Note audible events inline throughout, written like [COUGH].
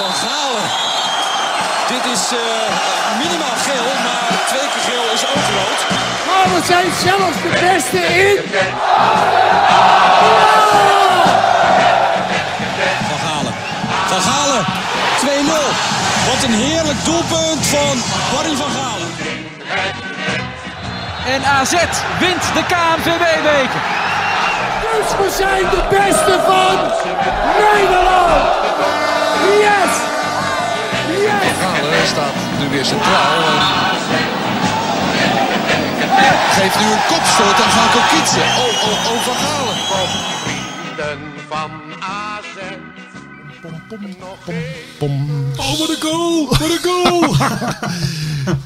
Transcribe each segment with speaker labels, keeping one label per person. Speaker 1: Van Galen. Dit is eh, minimaal geel, maar twee keer geel is ook rood.
Speaker 2: Maar Oh, we zijn zelf de beste in.
Speaker 1: Van Galen. Van Galen, 2-0. Wat een heerlijk doelpunt van Barry van Galen.
Speaker 3: En AZ wint de KNVB-beker.
Speaker 2: Dus we zijn de beste van Nederland. Yes! Yes!
Speaker 4: Galen staat nu weer centraal. En geeft nu een kopstoot aan Gaco Kietse. Oh, oh, oh, Van Galen.
Speaker 5: van AZ.
Speaker 6: Oh, wat een goal! Wat een goal!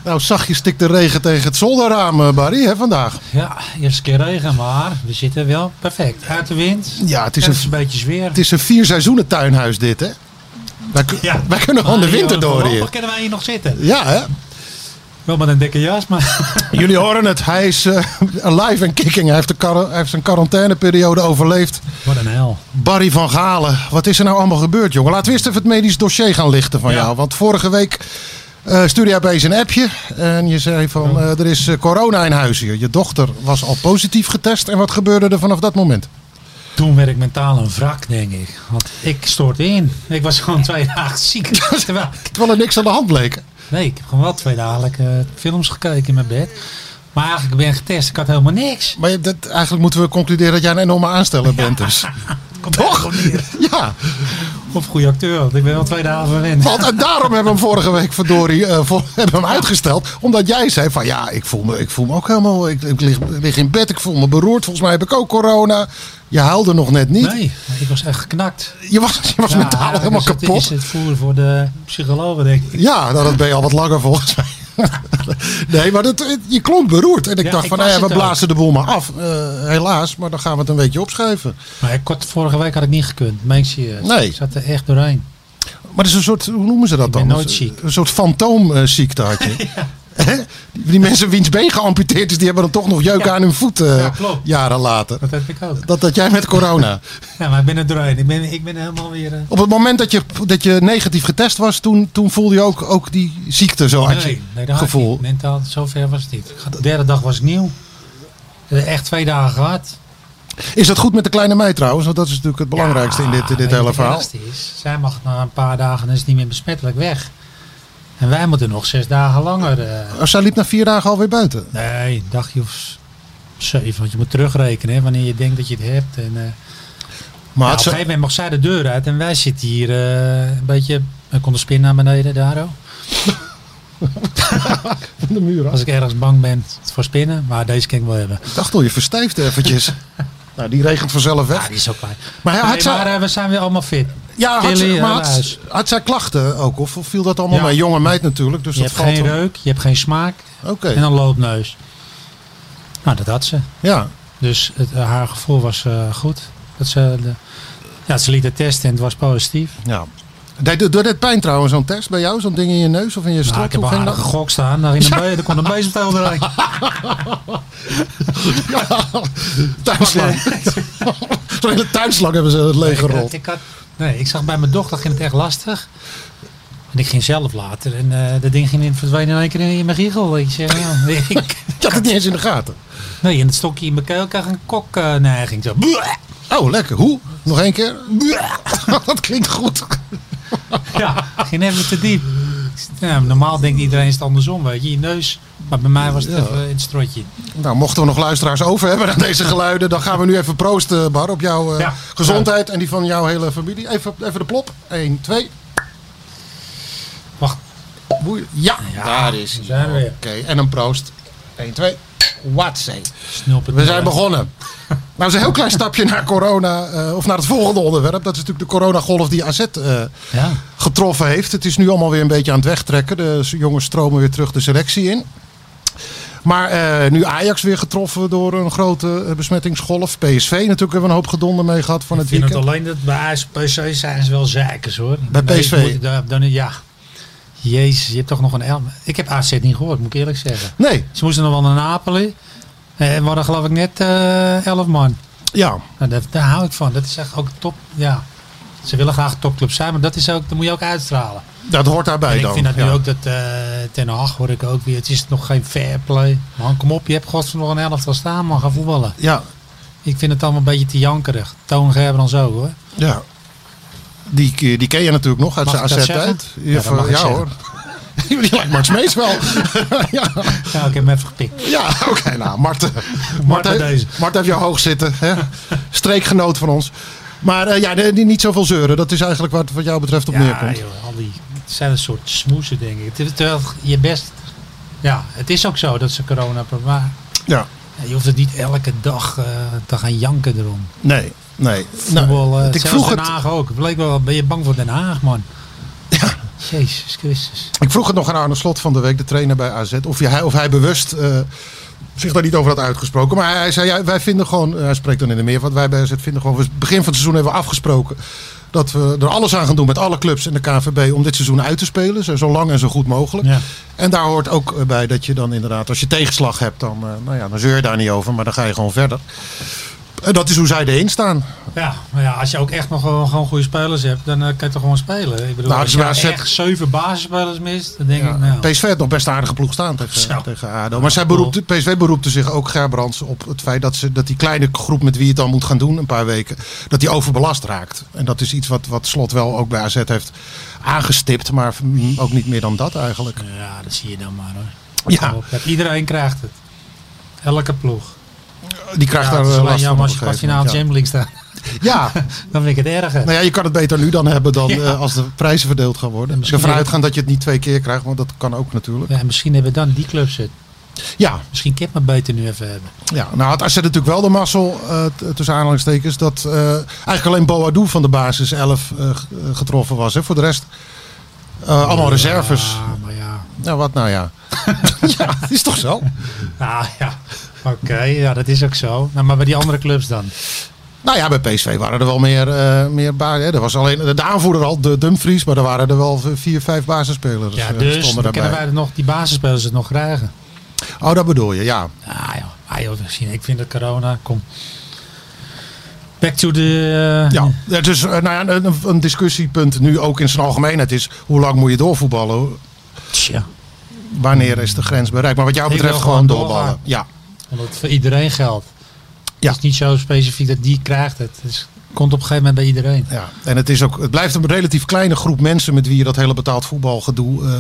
Speaker 7: Nou, zachtjes stikt de regen tegen het zolderraam, eh, Barry, hè, vandaag.
Speaker 8: Ja, eerste keer regen, maar we zitten wel perfect. Uit de wind.
Speaker 7: Ja, het is
Speaker 8: een,
Speaker 7: een-
Speaker 8: een beetje zweer.
Speaker 7: Het is een vier seizoenen tuinhuis dit, hè? Wij, kun-
Speaker 8: Ja.
Speaker 7: wij kunnen gewoon de
Speaker 8: Maar,
Speaker 7: winter
Speaker 8: eh,
Speaker 7: door
Speaker 8: voorlopig
Speaker 7: hier.
Speaker 8: kunnen wij hier nog zitten.
Speaker 7: Ja, hè?
Speaker 8: Wel met een dikke jas, maar... [LAUGHS]
Speaker 7: Jullie horen het. Hij is eh, alive en kicking. Hij heeft, de quar- hij heeft zijn quarantaineperiode overleefd.
Speaker 8: Wat een hel.
Speaker 7: Barry van Galen, wat is er nou allemaal gebeurd, jongen? Laten we eerst even het medisch dossier gaan lichten van
Speaker 8: Ja.
Speaker 7: jou. Want vorige week eh stuurde jij opeens een appje. En je zei van, eh, er is eh, corona in huis hier. Je dochter was al positief getest. En wat gebeurde er vanaf dat moment?
Speaker 8: Toen werd ik mentaal een wrak, denk ik. Want ik stort in. Ik was gewoon twee [LAUGHS] dagen
Speaker 7: [LAUGHS]
Speaker 8: ziek. Terwijl ik-
Speaker 7: Terwijl er niks aan de hand bleek.
Speaker 8: nee, ik heb gewoon wel twee dagen eh, films gekeken in mijn bed. Maar eigenlijk ben ik getest. Ik had helemaal niks.
Speaker 7: Maar je- dat, eigenlijk moeten we concluderen dat jij een enorme aansteller bent dus.
Speaker 8: [LAUGHS] Komt Toch?
Speaker 7: Ja,
Speaker 8: Of goede acteur, want ik ben wel twee dagen verwend.
Speaker 7: want en daarom hebben we hem vorige week verdorie eh, voor, [LAUGHS] hebben we hem uitgesteld. Omdat jij zei van ja, ik voel me, ik voel me ook helemaal, ik, ik lig, ik lig in bed, ik voel me beroerd. Volgens mij heb ik ook corona. Je huilde nog net niet.
Speaker 8: Nee, ik was echt geknakt.
Speaker 7: Je was, je was mentaal
Speaker 8: eigenlijk
Speaker 7: helemaal
Speaker 8: is het-
Speaker 7: kapot.
Speaker 8: Is het voer voor de psychologen, denk ik.
Speaker 7: Ja, nou, dat ben je al wat langer volgens
Speaker 8: [LAUGHS]
Speaker 7: mij. Nee, maar dat, je klonk beroerd. En ik
Speaker 8: Ja,
Speaker 7: dacht
Speaker 8: ik
Speaker 7: van,
Speaker 8: was
Speaker 7: nou ja, we
Speaker 8: het ook.
Speaker 7: blazen de boel maar af. Eh, helaas, maar dan gaan we het een beetje opschrijven.
Speaker 8: Maar ik had, vorige week had ik niet gekund. Meen ik serieus.
Speaker 7: Nee.
Speaker 8: Ik zat er echt doorheen.
Speaker 7: Maar het is een soort, hoe noemen ze dat dan?
Speaker 8: ben nooit ziek.
Speaker 7: Een soort fantoomziekte had je.
Speaker 8: [LAUGHS]
Speaker 7: Hè? Die, die mensen wiens been geamputeerd is, die hebben dan toch nog jeuk
Speaker 8: Ja.
Speaker 7: aan hun voet eh,
Speaker 8: Ja, klopt.
Speaker 7: jaren later.
Speaker 8: Dat heb ik ook.
Speaker 7: Dat, dat jij met corona.
Speaker 8: Ja, maar ik ben er doorheen. Ik ben, ik ben helemaal weer... eh,
Speaker 7: Op het moment dat je, dat je negatief getest was, toen, toen voelde je ook, ook die ziekte, zo had je
Speaker 8: dat had ik
Speaker 7: gevoel.
Speaker 8: niet. Mentaal, zover was het niet. Ik had- De derde dag was ik nieuw. Eh, Echt twee dagen gehad.
Speaker 7: Is dat goed met de kleine meid trouwens? Want dat is natuurlijk het belangrijkste in dit, in
Speaker 8: weet
Speaker 7: dit
Speaker 8: je
Speaker 7: hele
Speaker 8: wat het
Speaker 7: verhaal.
Speaker 8: ergste Is, zij mag na een paar dagen, dan is het niet meer besmettelijk, weg. En wij moeten nog zes dagen langer. eh,
Speaker 7: Oh, Zij liep na vier dagen alweer buiten.
Speaker 8: nee, een dagje of s- zeven. Want je moet terugrekenen hè, wanneer je denkt dat je het hebt. En, eh,
Speaker 7: Maar
Speaker 8: ja, Nou, op
Speaker 7: had
Speaker 8: een
Speaker 7: ze-
Speaker 8: gegeven moment mag zij de deur uit en wij zitten hier eh, een beetje... Dan kon de spin naar beneden,
Speaker 7: [LAUGHS]
Speaker 8: daar ook.
Speaker 7: de muur
Speaker 8: Als ik ergens bang ben voor spinnen, maar deze kan ik wel hebben.
Speaker 7: Ik dacht al, je verstijft
Speaker 8: [LAUGHS]
Speaker 7: eventjes. nou, die regent vanzelf
Speaker 8: Ja,
Speaker 7: weg.
Speaker 8: die is ook fijn.
Speaker 7: Maar hij had
Speaker 8: Nee,
Speaker 7: zo-
Speaker 8: maar eh, we zijn weer allemaal fit.
Speaker 7: Ja, had,
Speaker 8: Tilly,
Speaker 7: ze, maar
Speaker 8: eh,
Speaker 7: had,
Speaker 8: huis.
Speaker 7: had zij klachten ook? Of viel dat allemaal
Speaker 8: Ja.
Speaker 7: mee? Jonge meid natuurlijk, dus
Speaker 8: Je
Speaker 7: dat
Speaker 8: hebt
Speaker 7: valt
Speaker 8: geen
Speaker 7: wel-
Speaker 8: reuk, je hebt geen smaak
Speaker 7: Oké,
Speaker 8: en een loopneus. Nou, dat had ze.
Speaker 7: ja.
Speaker 8: Dus het, eh, haar gevoel was eh, goed. Dat ze, de, ja, ze liet het testen en het was positief.
Speaker 7: ja. Deed, doet dit pijn trouwens, zo'n test bij jou? Zo'n ding in je neus of in je
Speaker 8: Nou, ik
Speaker 7: strot?
Speaker 8: heb
Speaker 7: Hoe
Speaker 8: haar
Speaker 7: ging dat?
Speaker 8: gegok staan. Daar in
Speaker 7: [LAUGHS]
Speaker 8: een be- er kon een bezemteel doorheen.
Speaker 7: Tuinslang. [LAUGHS] Zo'n hele tuinslang hebben ze leeggerold.
Speaker 8: Ik, had, nee, ik zag bij mijn dochter ging het echt lastig. En ik ging zelf later. En eh, dat ding ging in, verdween in één keer in mijn giegel. Ik zeg, ja, [LAUGHS] ik,
Speaker 7: Je had het niet eens in de gaten.
Speaker 8: nee, en het stokje in mijn keel kreeg een kokneiging. Zo.
Speaker 7: Oh, lekker. Hoe? Nog één keer? [LAUGHS] dat klinkt goed.
Speaker 8: Ja, [LAUGHS] ging even te diep. Ja, normaal denkt iedereen is het andersom, weet je, je neus. Maar bij mij was het even in het strotje.
Speaker 7: Nou, mochten we nog luisteraars over hebben aan deze geluiden, dan gaan we nu even proosten, Bar, op jouw eh,
Speaker 8: Ja.
Speaker 7: gezondheid en die van jouw hele familie. Even, even de plop. 1, 2.
Speaker 8: Wacht,
Speaker 7: Ja, daar is hij.
Speaker 8: zijn we weer.
Speaker 7: Oké, en een proost. 1, 2. Wat say?
Speaker 8: snel
Speaker 7: We zijn
Speaker 8: [LAUGHS]
Speaker 7: begonnen. Nou, dat is een heel klein stapje naar corona, eh, of naar het volgende onderwerp. Dat is natuurlijk de coronagolf die AZ eh,
Speaker 8: Ja,
Speaker 7: getroffen heeft. Het is nu allemaal weer een beetje aan het wegtrekken. De s- jongens stromen weer terug de selectie in. Maar eh, nu Ajax weer getroffen door een grote eh, besmettingsgolf. PSV natuurlijk hebben we een hoop gedonder mee gehad van
Speaker 8: ik
Speaker 7: het
Speaker 8: vind het
Speaker 7: weekend.
Speaker 8: alleen dat bij AS PSV zijn ze wel zeikers hoor.
Speaker 7: Bij
Speaker 8: Nee,
Speaker 7: PSV?
Speaker 8: moet ik daar- dan, ja. Jezus, je hebt toch nog een L. Ik heb AZ niet gehoord, moet ik eerlijk zeggen.
Speaker 7: Nee,
Speaker 8: Ze moesten nog wel naar Napoli. En we hadden geloof ik net eh elf man.
Speaker 7: ja.
Speaker 8: Nou, dat, daar hou ik van. Dat is echt ook top. Ja. Ze willen graag topclub zijn, maar dat, is ook, dat moet je ook uitstralen.
Speaker 7: Dat hoort daarbij
Speaker 8: En ik
Speaker 7: dan.
Speaker 8: vind dat
Speaker 7: ja.
Speaker 8: nu ook dat eh, Ten Hag hoor ik ook weer. Het is nog geen fair play. Man, kom op, je hebt godverdomme nog een elftal staan, man, ga voetballen.
Speaker 7: Ja,
Speaker 8: Ik vind het allemaal een beetje te jankerig. Toon Gerbrand zo hoor.
Speaker 7: ja. Die, eh, die ken je natuurlijk nog uit
Speaker 8: Mag
Speaker 7: zijn
Speaker 8: ik dat
Speaker 7: AZ-tijd.
Speaker 8: zeggen? Ja, dat mag ik
Speaker 7: ja
Speaker 8: zeggen.
Speaker 7: hoor. [LAUGHS] Die lijkt Mart Smees wel. [LAUGHS] ja,
Speaker 8: Ja, ik heb hem even gepikt.
Speaker 7: ja oké. nou, Mart, Mart,
Speaker 8: Marten
Speaker 7: heeft,
Speaker 8: deze.
Speaker 7: Mart heeft jou hoog zitten. Hè? Streekgenoot van ons. Maar eh, ja, nee, niet zoveel zeuren. Dat is eigenlijk wat, wat jou betreft op
Speaker 8: Ja,
Speaker 7: neerkomt.
Speaker 8: joh, al die, het zijn een soort smoesen, denk ik. Het is- Terwijl je best. Ja, het is ook zo dat ze corona hebben. Maar
Speaker 7: Ja.
Speaker 8: je hoeft het niet elke dag eh, te gaan janken erom.
Speaker 7: Nee, nee. Nou,
Speaker 8: Voetbal, eh,
Speaker 7: ik,
Speaker 8: zelfs
Speaker 7: vroeg
Speaker 8: Den
Speaker 7: het,
Speaker 8: Haag ook. Bleek wel, ben je bang voor Den
Speaker 7: [LAUGHS]
Speaker 8: Haag, man? Jezus Christus.
Speaker 7: ik vroeg het nog aan Arne Slot van de week, de trainer bij AZ. Of, je, hij- of hij bewust eh, zich daar niet over had uitgesproken. Maar hij, hij zei, ja, wij vinden gewoon... eh, Hij spreekt dan in de meer, want wij bij AZ vinden gewoon... we- Begin van het seizoen hebben we afgesproken... Dat we er alles aan gaan doen met alle clubs en de KNVB om dit seizoen uit te spelen. Zo, zo lang en zo goed mogelijk.
Speaker 8: Ja.
Speaker 7: En daar hoort ook eh, bij dat je dan inderdaad, als je tegenslag hebt, dan, eh, nou ja, dan zeur je daar niet over. Maar dan ga je gewoon verder. En dat is hoe zij erin staan.
Speaker 8: Ja, maar ja, als je ook echt nog gewoon, gewoon goede spelers hebt, dan eh, kan je toch gewoon spelen. Ik bedoel,
Speaker 7: Nou,
Speaker 8: als
Speaker 7: dus
Speaker 8: je
Speaker 7: bij AZ
Speaker 8: echt zeven basisspelers mist, dan denk ik, nou,
Speaker 7: PSV had nog best een aardige ploeg staan tegen,
Speaker 8: Zo.
Speaker 7: tegen ADO. Maar zij beroepte, PSV beroepte zich ook Gerbrands op het feit dat, ze, dat die kleine groep met wie je het dan moet gaan doen een paar weken, dat die overbelast raakt. En dat is iets wat, wat Slot wel ook bij AZ heeft aangestipt, maar mm, ook niet meer dan dat eigenlijk.
Speaker 8: ja, dat zie je dan maar hoor.
Speaker 7: Ja.
Speaker 8: Kom op, dat Iedereen krijgt het. Elke ploeg.
Speaker 7: Die krijgt
Speaker 8: Ja,
Speaker 7: daar
Speaker 8: het is
Speaker 7: eh,
Speaker 8: alleen
Speaker 7: last van.
Speaker 8: jammer
Speaker 7: op
Speaker 8: als je
Speaker 7: een gegeven
Speaker 8: pas finaal
Speaker 7: moment,
Speaker 8: Champions League staat. [LAUGHS]
Speaker 7: Ja, Ja,
Speaker 8: Dan vind ik het erger.
Speaker 7: [LAUGHS] nou ja, je kan het beter nu dan hebben dan
Speaker 8: Ja.
Speaker 7: eh, als de prijzen verdeeld gaan worden.
Speaker 8: misschien
Speaker 7: Ervan uitgaan dat je het niet twee keer krijgt, want dat kan ook natuurlijk.
Speaker 8: Ja, en misschien hebben dan die clubs het.
Speaker 7: Ja,
Speaker 8: Misschien Kip maar beter nu even hebben.
Speaker 7: Ja, nou had AZ natuurlijk wel de mazzel, eh, t- tussen aanhalingstekens, dat eh, eigenlijk alleen Boadou van de basis 11 eh, g- eh, getroffen was. Hè. Voor de rest eh, allemaal reserves.
Speaker 8: Ja, maar ja.
Speaker 7: Nou, wat nou ja. [LAUGHS] ja, is toch zo?
Speaker 8: Ah, ja. Oké, ja, dat is ook zo. Nou, maar bij die andere clubs dan?
Speaker 7: Nou ja, bij PSV waren er wel meer, eh meer ba- hè. Er was alleen de aanvoerder al, de Dumfries, maar er waren er wel vier, vijf basisspelers
Speaker 8: Ja,
Speaker 7: eh,
Speaker 8: dus
Speaker 7: stonden
Speaker 8: dan kunnen wij
Speaker 7: daarbij.
Speaker 8: er nog, die basisspelers het nog krijgen.
Speaker 7: Oh, dat bedoel je, ja.
Speaker 8: Ah joh, ah, joh misschien. ik vind dat corona, kom. Back to the... eh,
Speaker 7: Ja, ja, dus eh, nou ja, een, een discussiepunt nu ook in zijn algemeenheid is, hoe lang moet je doorvoetballen?
Speaker 8: Tja.
Speaker 7: Wanneer is de grens bereikt? Maar wat jou
Speaker 8: Ik
Speaker 7: betreft
Speaker 8: wil
Speaker 7: gewoon,
Speaker 8: gewoon
Speaker 7: doorballen.
Speaker 8: doorgaan.
Speaker 7: Ja.
Speaker 8: Omdat het voor iedereen geldt.
Speaker 7: Ja.
Speaker 8: Het is niet zo specifiek dat die krijgt het. Het is- komt op een gegeven moment bij iedereen.
Speaker 7: Ja, en het, is ook, het blijft een relatief kleine groep mensen met wie je dat hele betaald voetbalgedoe eh,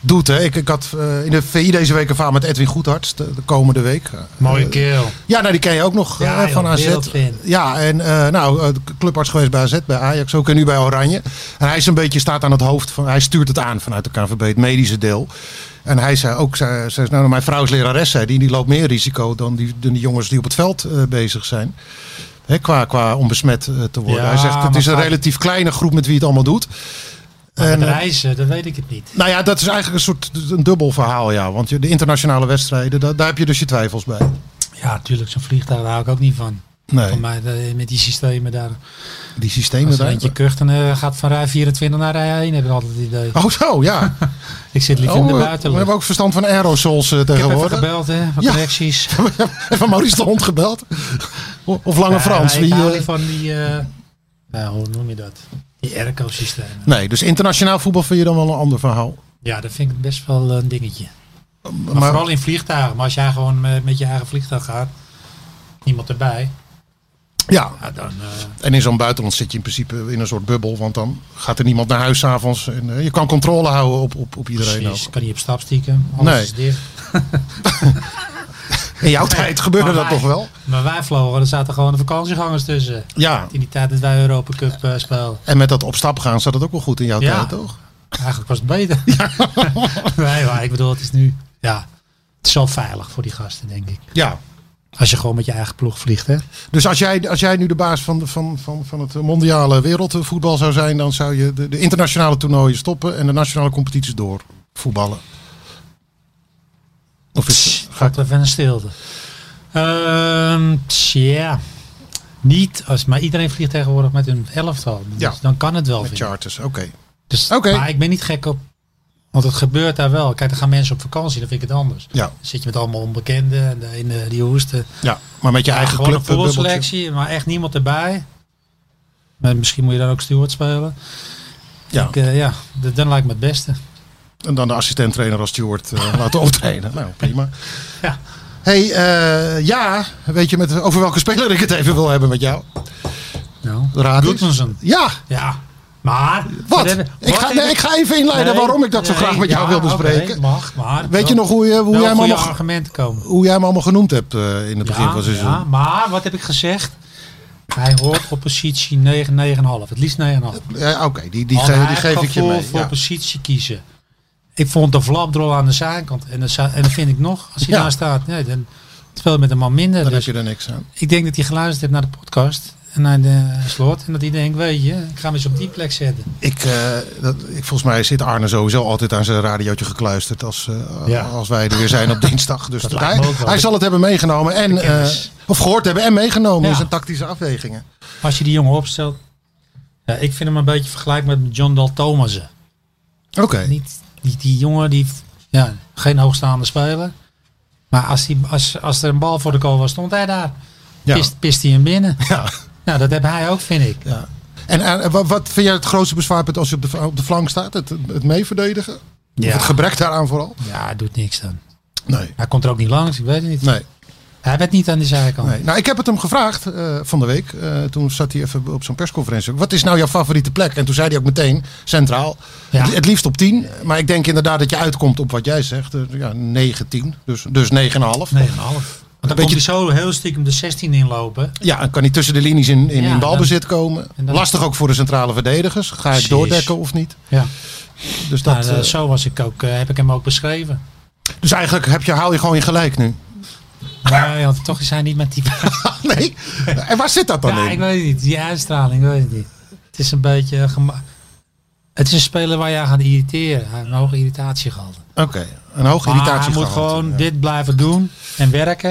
Speaker 7: doet. Hè. Ik, ik had eh, in de VI deze week een verhaal met Edwin Goedharts de, de komende week.
Speaker 8: Mooie
Speaker 7: Eh,
Speaker 8: keel.
Speaker 7: Ja, nou die ken je ook nog
Speaker 8: Ja,
Speaker 7: eh,
Speaker 8: joh,
Speaker 7: van AZ.
Speaker 8: wereldvriend.
Speaker 7: Ja, en eh, nou, eh, clubarts geweest bij AZ, bij Ajax ook en nu bij Oranje. En hij is een beetje, staat aan het hoofd, van, hij stuurt het aan vanuit de KNVB, het medische deel. En hij zei ook, zei, zei, nou mijn vrouw is lerares, zei die, die loopt meer risico dan die, dan die jongens die op het veld eh, bezig zijn. Hè, qua, qua om besmet eh, te worden.
Speaker 8: Ja,
Speaker 7: hij zegt, het
Speaker 8: maar
Speaker 7: is een
Speaker 8: vaak-
Speaker 7: relatief kleine groep met wie het allemaal doet.
Speaker 8: Maar
Speaker 7: En,
Speaker 8: met
Speaker 7: eh,
Speaker 8: reizen, dat weet ik het niet.
Speaker 7: nou ja, dat is eigenlijk een soort een dubbel verhaal, ja. Want je- de internationale wedstrijden, daar, daar heb je dus je twijfels bij.
Speaker 8: Ja, natuurlijk, zo'n vliegtuig daar hou ik ook niet van.
Speaker 7: Nee,
Speaker 8: Van mij, eh, met die systemen daar.
Speaker 7: die systemen
Speaker 8: Als er
Speaker 7: daar.
Speaker 8: eentje kucht, dan eh, gaat van rij 24 naar rij 1, heb ik altijd het idee.
Speaker 7: Oh zo, ja.
Speaker 8: [LAUGHS] Ik zit liever
Speaker 7: Oh,
Speaker 8: in de
Speaker 7: we- we
Speaker 8: buitenlucht.
Speaker 7: hebben ook verstand van aerosols eh,
Speaker 8: Ik heb
Speaker 7: [LAUGHS]
Speaker 8: even
Speaker 7: tegenwoordig.
Speaker 8: gebeld, hè, van
Speaker 7: Ja. [LAUGHS]
Speaker 8: connecties.
Speaker 7: Even Maurice de Hond gebeld. [LAUGHS] O- Of Lange
Speaker 8: Ja,
Speaker 7: Frans.
Speaker 8: Ik
Speaker 7: wie,
Speaker 8: hou
Speaker 7: eh,
Speaker 8: niet van die... eh, nou, hoe noem je dat? Die airco-systemen.
Speaker 7: Nee, dus internationaal voetbal vind je dan wel een ander verhaal.
Speaker 8: Ja, dat vind ik best wel een dingetje. Maar,
Speaker 7: maar-
Speaker 8: vooral in vliegtuigen. Maar als jij gewoon met, met je eigen vliegtuig gaat, niemand erbij,
Speaker 7: Ja,
Speaker 8: ja, dan... eh,
Speaker 7: en in zo'n buitenland zit je in principe in een soort bubbel. Want dan gaat er niemand naar huis s'avonds. En eh, je kan controle houden op, op, op iedereen.
Speaker 8: precies,
Speaker 7: ook.
Speaker 8: kan niet op stap stiekem. Alles
Speaker 7: Nee.
Speaker 8: is
Speaker 7: [LAUGHS]
Speaker 8: dicht.
Speaker 7: In jouw tijd gebeurde
Speaker 8: Maar
Speaker 7: dat
Speaker 8: wij-
Speaker 7: toch wel?
Speaker 8: Maar wij vlogen, er zaten gewoon de vakantiegangers tussen.
Speaker 7: Ja,
Speaker 8: In die tijd dat wij Europa Cup eh speelden.
Speaker 7: en met dat op stap gaan zat het ook wel goed in jouw
Speaker 8: Ja.
Speaker 7: tijd, toch?
Speaker 8: Eigenlijk was het
Speaker 7: [LAUGHS]
Speaker 8: beter. [LAUGHS] nee, maar ik bedoel, het is nu... Ja, het is wel veilig voor die gasten, denk ik.
Speaker 7: Ja.
Speaker 8: Als je gewoon met je eigen ploeg vliegt, hè.
Speaker 7: Dus als jij, als jij nu de baas van, de- van, van, van het mondiale wereldvoetbal zou zijn, dan zou je de, de internationale toernooien stoppen en de nationale competities door voetballen. Of is
Speaker 8: Pss, Gaat even een stilte. Ehm, pss, Ja. Niet als, maar iedereen vliegt tegenwoordig met een elftal. Dus
Speaker 7: Ja.
Speaker 8: dan kan het wel.
Speaker 7: met
Speaker 8: vind ik.
Speaker 7: charters, oké.
Speaker 8: Dus,
Speaker 7: Oké.
Speaker 8: Maar ik ben niet gek op. Want het gebeurt daar wel. Kijk, dan gaan mensen op vakantie, dan vind ik het anders.
Speaker 7: Ja.
Speaker 8: Dan zit je met allemaal onbekenden en de ene die hoesten.
Speaker 7: Ja, maar met je
Speaker 8: Ja,
Speaker 7: eigen
Speaker 8: gewoon
Speaker 7: club. eh,
Speaker 8: een voetbalselectie, maar echt niemand erbij. Maar misschien moet je daar ook steward spelen.
Speaker 7: Ja.
Speaker 8: Ik, eh, ja, d- dan lijkt me het beste.
Speaker 7: En dan de assistent-trainer als steward
Speaker 8: [LAUGHS]
Speaker 7: eh, laten optreden. Nou, prima.
Speaker 8: Ja.
Speaker 7: hey, eh, ja, weet je met, over welke speler ik het even wil hebben met jou?
Speaker 8: Nou,
Speaker 7: Raad eens.
Speaker 8: Gudmundsson.
Speaker 7: Ja,
Speaker 8: Ja, maar...
Speaker 7: wat?
Speaker 8: Dat hebben-
Speaker 7: Ik ga,
Speaker 8: Wat?
Speaker 7: nee, ik ga even inleiden
Speaker 8: Nee,
Speaker 7: waarom ik dat zo
Speaker 8: nee,
Speaker 7: graag met jou
Speaker 8: ja,
Speaker 7: wilde
Speaker 8: oké,
Speaker 7: bespreken.
Speaker 8: mag, maar...
Speaker 7: Weet je nog hoe, je, hoe, jij, hem
Speaker 8: mijn
Speaker 7: allemaal,
Speaker 8: argumenten komen?
Speaker 7: hoe jij hem allemaal genoemd hebt eh, in het begin van het seizoen?
Speaker 8: ja, maar wat heb ik gezegd? Hij hoort op positie 9, 9,5. Het liefst 9,5.
Speaker 7: Ja, Oké, die, die,
Speaker 8: Want
Speaker 7: ge-
Speaker 8: hij
Speaker 7: die
Speaker 8: heeft
Speaker 7: geef ik je
Speaker 8: gevoel
Speaker 7: mee.
Speaker 8: voor
Speaker 7: Ja.
Speaker 8: positie kiezen. Ik vond de flapdrol aan de zijkant. En dat, zou- en dat vind ik nog. Als hij
Speaker 7: Ja.
Speaker 8: daar staat, nee, dan speel je met een man minder.
Speaker 7: Dan heb
Speaker 8: Dus
Speaker 7: je er niks aan.
Speaker 8: ik denk dat hij geluisterd heeft naar de podcast. En naar de slot. En dat hij denkt, weet je, ik ga hem eens op die plek zetten.
Speaker 7: Ik, eh, dat, ik, volgens mij zit Arne sowieso altijd aan zijn radiootje gekluisterd als, eh,
Speaker 8: Ja.
Speaker 7: als wij er weer zijn
Speaker 8: [LAUGHS]
Speaker 7: op dinsdag. Dus
Speaker 8: Dat
Speaker 7: hij,
Speaker 8: lijkt me ook wel.
Speaker 7: hij zal het hebben meegenomen. En,
Speaker 8: kennis.
Speaker 7: eh, of gehoord hebben en meegenomen
Speaker 8: Ja.
Speaker 7: in zijn tactische afwegingen.
Speaker 8: Als je die jongen opstelt. Ja, ik vind hem een beetje vergelijkbaar met John Dal Thomassen.
Speaker 7: Oké,
Speaker 8: Niet, die, die jongen die, ja, geen hoogstaande speler. Maar als, die, als, als er een bal voor de goal was, stond hij daar.
Speaker 7: Ja.
Speaker 8: Pist, pist hij hem binnen.
Speaker 7: ja.
Speaker 8: Nou, dat heb hij ook, vind ik.
Speaker 7: ja. En eh, wat, wat vind jij het grootste bezwaarpunt als je op de, op de flank staat? Het, het meeverdedigen? Of het gebrek daaraan vooral?
Speaker 8: Ja, hij doet niks dan.
Speaker 7: Nee.
Speaker 8: Hij komt er ook niet langs, ik weet het niet.
Speaker 7: Nee.
Speaker 8: Hij werd niet aan die zijkant.
Speaker 7: Nee. Nou, ik heb het hem gevraagd eh, van de week. Eh, toen zat hij even op zo'n persconferentie. Wat is nou jouw favoriete plek? En toen zei hij ook meteen centraal.
Speaker 8: Ja.
Speaker 7: Het, het liefst op 10. Maar ik denk inderdaad dat je uitkomt op wat jij zegt. Eh, ja, 9, 10. Dus, dus 9,5.
Speaker 8: Nee, een half. Want dan
Speaker 7: Beetje-
Speaker 8: komt hij zo heel stiekem de 16 inlopen.
Speaker 7: Ja, dan kan hij tussen de linies in, in,
Speaker 8: Ja,
Speaker 7: in balbezit komen.
Speaker 8: en dan-
Speaker 7: Lastig ook voor de centrale verdedigers. Ga ik
Speaker 8: Precies.
Speaker 7: doordekken of niet?
Speaker 8: Ja.
Speaker 7: Dus, dat, eh,
Speaker 8: zo was ik ook, Nou, eh, heb ik hem ook
Speaker 7: [LAUGHS]
Speaker 8: beschreven.
Speaker 7: dus eigenlijk heb je, hou je gewoon je gelijk
Speaker 8: [LAUGHS]
Speaker 7: nu.
Speaker 8: Nee, want toch is hij niet met die...
Speaker 7: nee? En waar zit dat dan
Speaker 8: ja, ik
Speaker 7: in?
Speaker 8: weet het niet. Die uitstraling, ik weet het niet. Het is een beetje... eh, gema- het is een speler waar je aan gaat irriteren. Hij heeft een hoge irritatie gehad.
Speaker 7: Oké, een hoge irritatie.
Speaker 8: Maar Ah, hij moet gewoon
Speaker 7: ja.
Speaker 8: dit blijven doen en werken.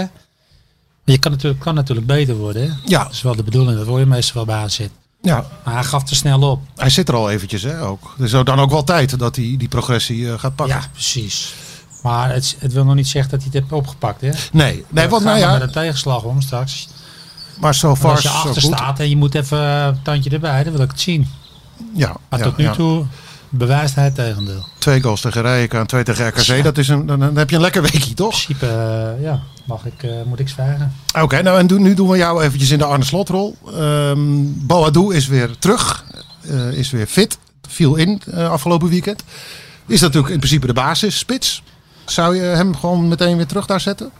Speaker 8: Maar je kan natuurlijk, kan natuurlijk beter worden. Hè?
Speaker 7: Ja.
Speaker 8: Dat is wel de bedoeling, dat hoor je meestal wel bij AZ.
Speaker 7: Ja,
Speaker 8: Maar hij gaf te snel op.
Speaker 7: Hij zit er al eventjes, hè, ook. Dus ook dan ook wel tijd dat hij die progressie eh, gaat pakken.
Speaker 8: Ja, precies. Maar het, het wil nog niet zeggen dat hij het heeft opgepakt. Hè?
Speaker 7: Nee, nee want nou
Speaker 8: met
Speaker 7: ja,
Speaker 8: een tegenslag om straks.
Speaker 7: maar zo
Speaker 8: Maar
Speaker 7: far
Speaker 8: als je
Speaker 7: zo
Speaker 8: achter
Speaker 7: goed.
Speaker 8: staat en je moet even eh, een tandje erbij, dan wil ik het zien.
Speaker 7: Ja,
Speaker 8: Maar
Speaker 7: ja,
Speaker 8: tot nu
Speaker 7: ja.
Speaker 8: toe bewijst hij het tegendeel. In
Speaker 7: Twee goals tegen Rijeka en twee tegen RKC.
Speaker 8: Ja.
Speaker 7: Dat is een, dan, dan heb je een lekker weekje, toch?
Speaker 8: principe eh, ja, mag ik, eh, moet ik zwijgen.
Speaker 7: Oké, nou en doen- nu doen we jou eventjes in de Arne Slotrol. Ehm Boadou is weer terug, eh, is weer fit. Viel in eh, afgelopen weekend. Is dat natuurlijk in principe de basis, spits. Zou je hem gewoon meteen weer terug daar zetten?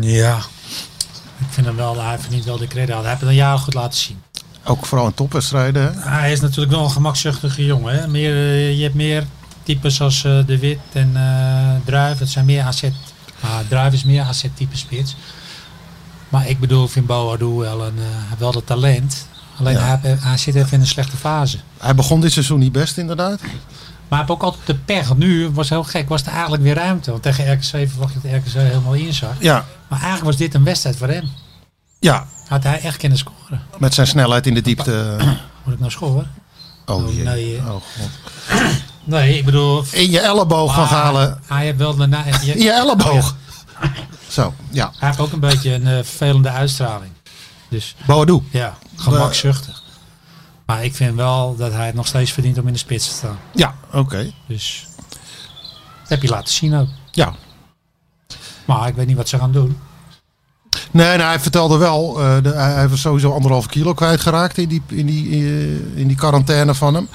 Speaker 8: Ja. Ik vind hem wel, hij verdient wel de credit. Hij heeft het een jaar goed laten zien.
Speaker 7: Ook vooral in topwedstrijden. hè?
Speaker 8: Hij is natuurlijk wel een gemakzuchtige jongen. Hè? Meer, eh, je hebt meer types als eh, De Wit en eh Druif. Het zijn meer AZ. Maar Druif is meer AZ-type spits. Maar ik bedoel, ik vind Boadu wel, een, eh, wel dat talent. Alleen
Speaker 7: Ja.
Speaker 8: hij, heeft- eh, hij zit even in een slechte fase.
Speaker 7: Hij begon dit seizoen niet best, inderdaad.
Speaker 8: Maar hij heeft ook altijd de pech. Want Nu was heel gek. Was er eigenlijk weer ruimte. Want tegen RKC verwacht je dat RKC helemaal inzag.
Speaker 7: Ja,
Speaker 8: Maar eigenlijk was dit een wedstrijd voor hem.
Speaker 7: ja,
Speaker 8: Had hij echt kunnen scoren.
Speaker 7: Met zijn snelheid in de
Speaker 8: [CLEARS THROAT]
Speaker 7: diepte.
Speaker 8: Moet ik nou scoren?
Speaker 7: Oh,
Speaker 8: Oh,
Speaker 7: jee.
Speaker 8: nee,
Speaker 7: Oh,
Speaker 8: hè.
Speaker 7: God.
Speaker 8: Nee, ik bedoel...
Speaker 7: In je elleboog
Speaker 8: Ah.
Speaker 7: van Galen.
Speaker 8: Hij heeft
Speaker 7: [LAUGHS]
Speaker 8: wel daarna... je-
Speaker 7: In je elleboog.
Speaker 8: Oh,
Speaker 7: Zo, ja.
Speaker 8: Hij heeft ook een beetje een eh, vervelende uitstraling. Dus
Speaker 7: Boadu.
Speaker 8: ja, gemakzuchtig. Maar ik vind wel dat hij het nog steeds verdient om in de spits te staan.
Speaker 7: Ja, oké.
Speaker 8: Dus dat heb je laten zien ook.
Speaker 7: Ja.
Speaker 8: Maar ik weet niet wat ze gaan doen.
Speaker 7: Nee, nee, hij vertelde wel. eh, de- hij hij was sowieso anderhalf kilo kwijtgeraakt in die, in die, eh, in die quarantaine van hem.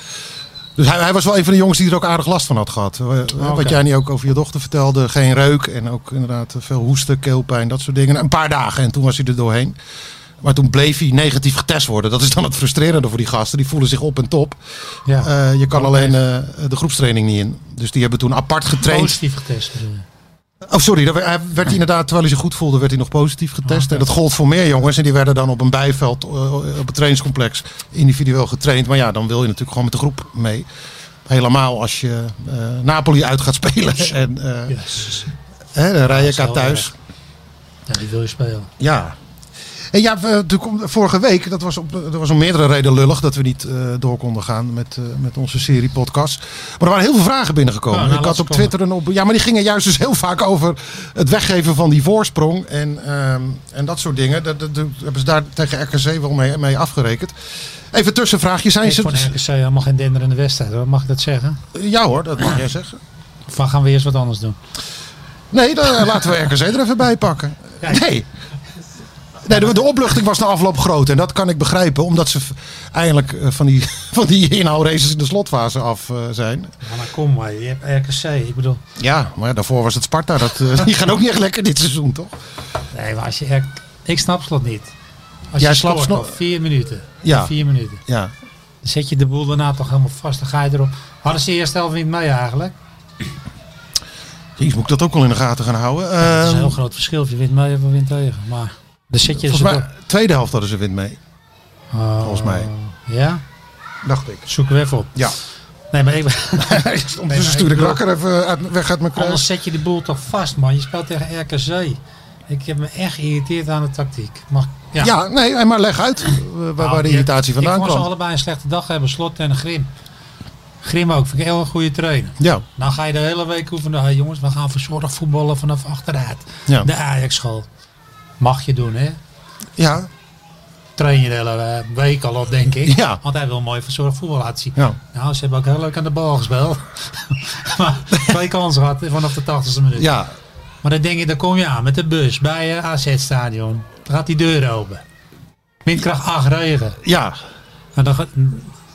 Speaker 7: Dus hij, hij was wel een van de jongens die er ook aardig last van had gehad. Eh, Wat
Speaker 8: Ah, oké.
Speaker 7: jij niet ook over je dochter vertelde. Geen reuk en ook inderdaad veel hoesten, keelpijn, dat soort dingen. Een paar dagen en toen was hij er doorheen. Maar toen bleef hij negatief getest worden. Dat is dan het frustrerende voor die gasten. Die voelen zich op en top.
Speaker 8: Ja.
Speaker 7: Eh, je kan alleen eh, de groepstraining niet in. Dus die hebben toen apart getraind.
Speaker 8: Positief getest. eh, bedoel je.
Speaker 7: Oh, sorry. daar werd- Hij werd inderdaad, terwijl hij zich goed voelde, werd hij nog positief
Speaker 8: Ah,
Speaker 7: getest. En dat gold voor meer jongens. En die werden dan op een bijveld, eh, op het trainingscomplex, individueel getraind. Maar ja, dan wil je natuurlijk gewoon met de groep mee. Helemaal als je eh, Napoli uit gaat spelen. En eh
Speaker 8: Yes.
Speaker 7: hè, dan rij je
Speaker 8: is
Speaker 7: elkaar
Speaker 8: wel
Speaker 7: thuis.
Speaker 8: Ja, die wil je spelen.
Speaker 7: Ja. En ja, we- toen kom- vorige week, dat was, op, dat was om meerdere redenen lullig dat we niet eh, door konden gaan met, eh, met onze serie podcast. Maar er waren heel veel vragen binnengekomen.
Speaker 8: Nou, nou,
Speaker 7: ik
Speaker 8: laat
Speaker 7: had
Speaker 8: ze
Speaker 7: op Twitter een op. Ja, maar die gingen juist dus heel vaak over het weggeven van die voorsprong en, ehm, en dat soort dingen. Dat, dat, dat hebben ze daar tegen RKC wel mee, mee afgerekend. Even tussenvraagje. Zijn
Speaker 8: Ik
Speaker 7: ze.
Speaker 8: vond RKC helemaal geen denderende wedstrijd hoor, mag ik dat zeggen?
Speaker 7: Ja hoor, dat mag jij zeggen.
Speaker 8: Of gaan we eerst wat anders doen?
Speaker 7: Nee, dan eh, laten we [LAUGHS] RKC er even bij pakken. Nee. Nee, de, de opluchting was na afloop groot. En dat kan ik begrijpen. Omdat ze v- eindelijk eh, van die, [LAUGHS] van die inhoudraces in de slotfase af eh, zijn.
Speaker 8: Ja, maar kom maar, je hebt RKC. Ik bedoel,
Speaker 7: Ja, maar ja, daarvoor was het Sparta. Dat, eh, [LAUGHS] die gaan ook niet echt lekker dit seizoen, toch?
Speaker 8: nee, maar als je R- ik snap slot niet. Als
Speaker 7: Jij
Speaker 8: je
Speaker 7: snapt
Speaker 8: slapt
Speaker 7: Slot-
Speaker 8: nog vier minuten.
Speaker 7: Ja.
Speaker 8: Vier minuten.
Speaker 7: Ja.
Speaker 8: Dan zet je de boel daarna toch helemaal vast. Dan ga je erop. Hadden ze de eerste helft niet mee eigenlijk?
Speaker 7: Ehm, Jezus, moet ik dat ook wel in de gaten gaan houden?
Speaker 8: dat is een
Speaker 7: Ehm,
Speaker 8: heel groot verschil. Of je wint mee of je wint tegen. Maar dan zet je
Speaker 7: volgens
Speaker 8: ze
Speaker 7: mij,
Speaker 8: toch-
Speaker 7: tweede helft hadden ze wind mee.
Speaker 8: Oh,
Speaker 7: Volgens mij.
Speaker 8: Ja?
Speaker 7: Dacht ik. Dus
Speaker 8: Zoeken we even op.
Speaker 7: Ja. [LAUGHS]
Speaker 8: Nee, maar ik,
Speaker 7: Ondertussen stuur ik Rakker even eh, uit, weg uit mijn kruis.
Speaker 8: anders zet je de boel toch vast, man. Je speelt tegen RKC. Ik heb me echt geïrriteerd aan de tactiek. Mag,
Speaker 7: Ja. nee, maar leg uit eh, waar, waar
Speaker 8: Nou,
Speaker 7: de
Speaker 8: je-
Speaker 7: irritatie vandaan
Speaker 8: Ik vond ze
Speaker 7: kwam.
Speaker 8: allebei een slechte dag hebben. Slot en Grim. Grim ook. Vind ik heel een goede trainer.
Speaker 7: Ja,
Speaker 8: Nou ga je de hele week hoeven. Nou, jongens, we gaan verzorgd voetballen vanaf achteruit.
Speaker 7: Ja.
Speaker 8: De Ajax-school. Mag je doen, hè?
Speaker 7: ja,
Speaker 8: Train je de hele eh, week al op, denk ik.
Speaker 7: Ja.
Speaker 8: Want hij wil mooi verzorgd voetbal laten zien.
Speaker 7: ja.
Speaker 8: Nou, ze hebben ook heel leuk aan de bal gespeeld. [LAUGHS] maar twee kansen gehad hè, vanaf de 80ste minuut.
Speaker 7: Ja,
Speaker 8: Maar dan denk je, dan kom je aan met de bus bij eh, je AZ-stadion. Dan gaat die deur open. Windkracht 8 regen.
Speaker 7: ja.
Speaker 8: En dan, ga-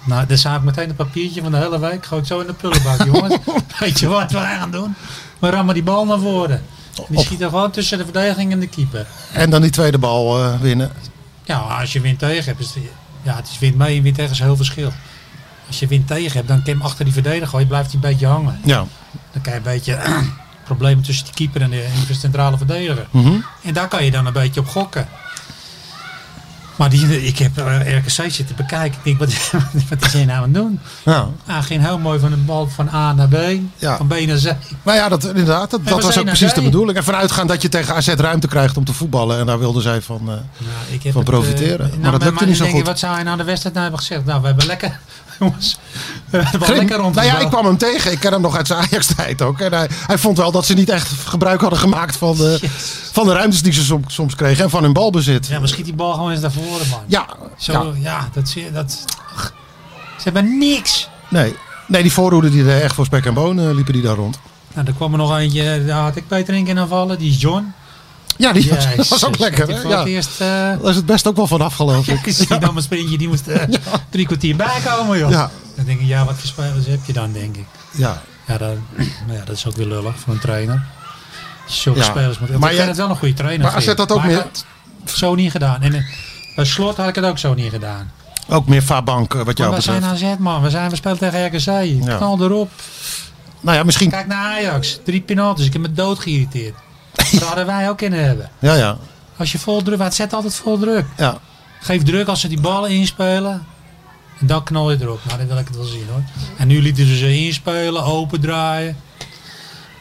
Speaker 8: nou, dan zou ik meteen een papiertje van de hele week. Gooi ik zo in de prullenbak, jongens. Weet je wat we gaan doen? We rammen die bal naar voren. En Die
Speaker 7: Op.
Speaker 8: schiet er gewoon tussen de verdediging en de keeper.
Speaker 7: En dan die tweede bal eh, winnen.
Speaker 8: Ja, als je wint tegen hebt, is het, ja, het is wint mee en wint tegen is heel verschil. Als je wint tegen hebt, dan kan je hem achter die verdediger gooien, blijft hij een beetje hangen.
Speaker 7: Ja.
Speaker 8: Dan kan je een beetje [CLEARS THROAT] problemen tussen de keeper en de, en de centrale verdediger. En daar kan je dan een beetje op gokken. Maar die, ik heb eh, RKC zitten bekijken. Ik denk, wat, [LAUGHS] wat is hij nou aan het doen?
Speaker 7: ja.
Speaker 8: Ah, ging heel mooi van een bal van A naar B,
Speaker 7: Ja.
Speaker 8: van B naar Z.
Speaker 7: Nou ja, dat, inderdaad. Dat, dat
Speaker 8: we
Speaker 7: was
Speaker 8: zijn
Speaker 7: ook
Speaker 8: naar
Speaker 7: precies de
Speaker 8: zij.
Speaker 7: bedoeling. En vanuitgaan dat je tegen AZ ruimte krijgt om te voetballen. En daar wilden zij van... eh,
Speaker 8: Nou, ik heb
Speaker 7: Van
Speaker 8: het,
Speaker 7: profiteren.
Speaker 8: eh,
Speaker 7: Maar dat lukte
Speaker 8: dan
Speaker 7: niet zo
Speaker 8: denk je,
Speaker 7: goed.
Speaker 8: Wat zou hij nou de wedstrijd nou hebben gezegd? Nou, we hebben lekker, [LAUGHS] jongens, we hebben
Speaker 7: Grim.
Speaker 8: lekker rond.
Speaker 7: nou ja, ik kwam hem tegen. Ik ken hem nog uit zijn Ajax-tijd ook. En hij, hij vond wel dat ze niet echt gebruik hadden gemaakt van de,
Speaker 8: Jezus.
Speaker 7: van de ruimtes die ze som- soms kregen. En van hun balbezit.
Speaker 8: Ja, maar schiet die bal gewoon eens naar voren, man.
Speaker 7: Ja,
Speaker 8: Zo,
Speaker 7: ja.
Speaker 8: ja, dat zie je, dat... ach, ze hebben niks.
Speaker 7: Nee. nee, die voorhoede die deed echt voor spek en bonen liepen die daar rond.
Speaker 8: Nou, er kwam er nog eentje, daar had ik beter in kunnen vallen. Die is John.
Speaker 7: [LAUGHS] Ja, die was-
Speaker 8: Jezus,
Speaker 7: was ook lekker.
Speaker 8: die
Speaker 7: hè?
Speaker 8: voor het
Speaker 7: Ja.
Speaker 8: eerst... eh, [LAUGHS]
Speaker 7: Daar is het best ook wel vanaf geloof ik.
Speaker 8: Is die dan een sprintje, die moest eh, drie kwartier bijkomen, joh.
Speaker 7: Ja.
Speaker 8: Dan denk ik, ja, wat voor spelers heb je dan, denk ik.
Speaker 7: Ja.
Speaker 8: Ja, dat, nou ja, dat is ook weer lullig voor een trainer. Zulke
Speaker 7: Ja.
Speaker 8: spelers moeten...
Speaker 7: Maar
Speaker 8: Maar ik
Speaker 7: jij-
Speaker 8: vind het wel een goede trainer.
Speaker 7: maar AZ
Speaker 8: vind ik.
Speaker 7: had ook
Speaker 8: Maar ik
Speaker 7: meer-
Speaker 8: had het zo niet gedaan. En eh, bij slot had ik het ook zo niet gedaan.
Speaker 7: Ook meer Fabank eh, wat
Speaker 8: Maar
Speaker 7: jou
Speaker 8: we zijn nou-
Speaker 7: betreft.
Speaker 8: AZ, man. We zijn we spelen tegen RKC.
Speaker 7: Ja.
Speaker 8: Knal erop.
Speaker 7: Nou ja, misschien...
Speaker 8: Kijk naar Ajax. Drie penalties. Ik heb me dood geïrriteerd. Dat hadden wij ook kunnen hebben.
Speaker 7: Ja, ja.
Speaker 8: Als je vol druk... Het zet altijd vol druk.
Speaker 7: Ja.
Speaker 8: Geef druk als ze die ballen inspelen. En dan knal je erop. Nou, dat wil ik het wel zien hoor. En nu lieten ze ze inspelen, opendraaien.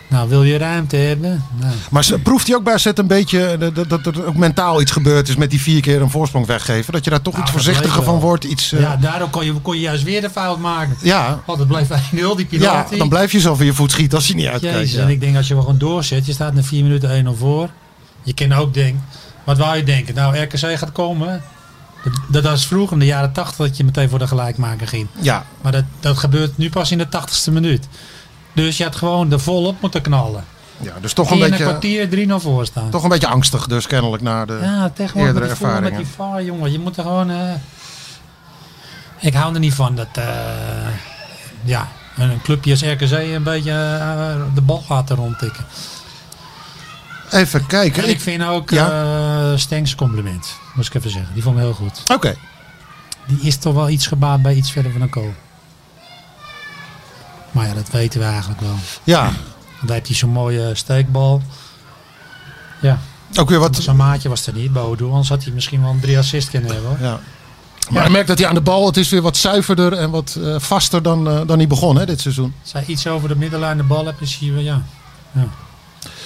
Speaker 8: Nou, wil je ruimte hebben? Nou,
Speaker 7: Maar ze- proeft hij ook bij AZ een beetje eh, dat, dat er ook mentaal iets gebeurd is met die vier keer een voorsprong weggeven? Dat je daar toch
Speaker 8: Nou,
Speaker 7: iets
Speaker 8: dat
Speaker 7: voorzichtiger
Speaker 8: weet
Speaker 7: van
Speaker 8: wel.
Speaker 7: wordt? Iets, eh,
Speaker 8: ja,
Speaker 7: ja,
Speaker 8: daardoor kon je, kon je juist weer de fout maken.
Speaker 7: ja,
Speaker 8: Want het blijft 1-0, die penalty.
Speaker 7: dan blijf je zo van je voet schieten als je niet uitkijkt.
Speaker 8: Jezus,
Speaker 7: Ja.
Speaker 8: en ik denk als je wel gewoon doorzet, je staat na 4 minuten 1-0 voor. Je kan ook denken, wat wou je denken? Nou, RKC gaat komen. Dat, dat was vroeger in de jaren 80 dat je meteen voor de gelijkmaker ging.
Speaker 7: ja,
Speaker 8: Maar dat, dat gebeurt nu pas in de 80ste minuut. Dus je had gewoon er volop moeten knallen.
Speaker 7: ja, dus toch
Speaker 8: Hier
Speaker 7: een,
Speaker 8: in een
Speaker 7: beetje,
Speaker 8: kwartier 3-0 voor staan.
Speaker 7: toch een beetje angstig dus kennelijk naar de...
Speaker 8: ja, tegenwoordig met
Speaker 7: eerdere
Speaker 8: die, voer, met die
Speaker 7: ervaringen.
Speaker 8: VAR, jongen. Je moet er gewoon... eh, ik hou er niet van dat... eh, ja, een een clubje als RKC een beetje eh, de bal laten rondtikken.
Speaker 7: Even kijken.
Speaker 8: En
Speaker 7: Ik-
Speaker 8: ik vind ook
Speaker 7: Ja.
Speaker 8: eh Stenks compliment, moest ik even zeggen. Die vond ik heel goed.
Speaker 7: Oké,
Speaker 8: Die is toch wel iets gebaat bij iets verder van een kool. Maar ja, dat weten we eigenlijk wel.
Speaker 7: ja.
Speaker 8: Want daar heeft hij zo'n mooie steekbal. Ja,
Speaker 7: Ook weer wat...
Speaker 8: zijn maatje was er niet, Bodo. Anders had hij misschien wel een drie assist kunnen hebben. hoor.
Speaker 7: Ja. Maar ik merk dat hij aan de bal, het is weer wat zuiverder en wat eh, vaster dan, eh, dan hij begon hè, dit seizoen.
Speaker 8: Als hij iets over de middenlijn de bal hebt, dan zie je wel, ja. ja.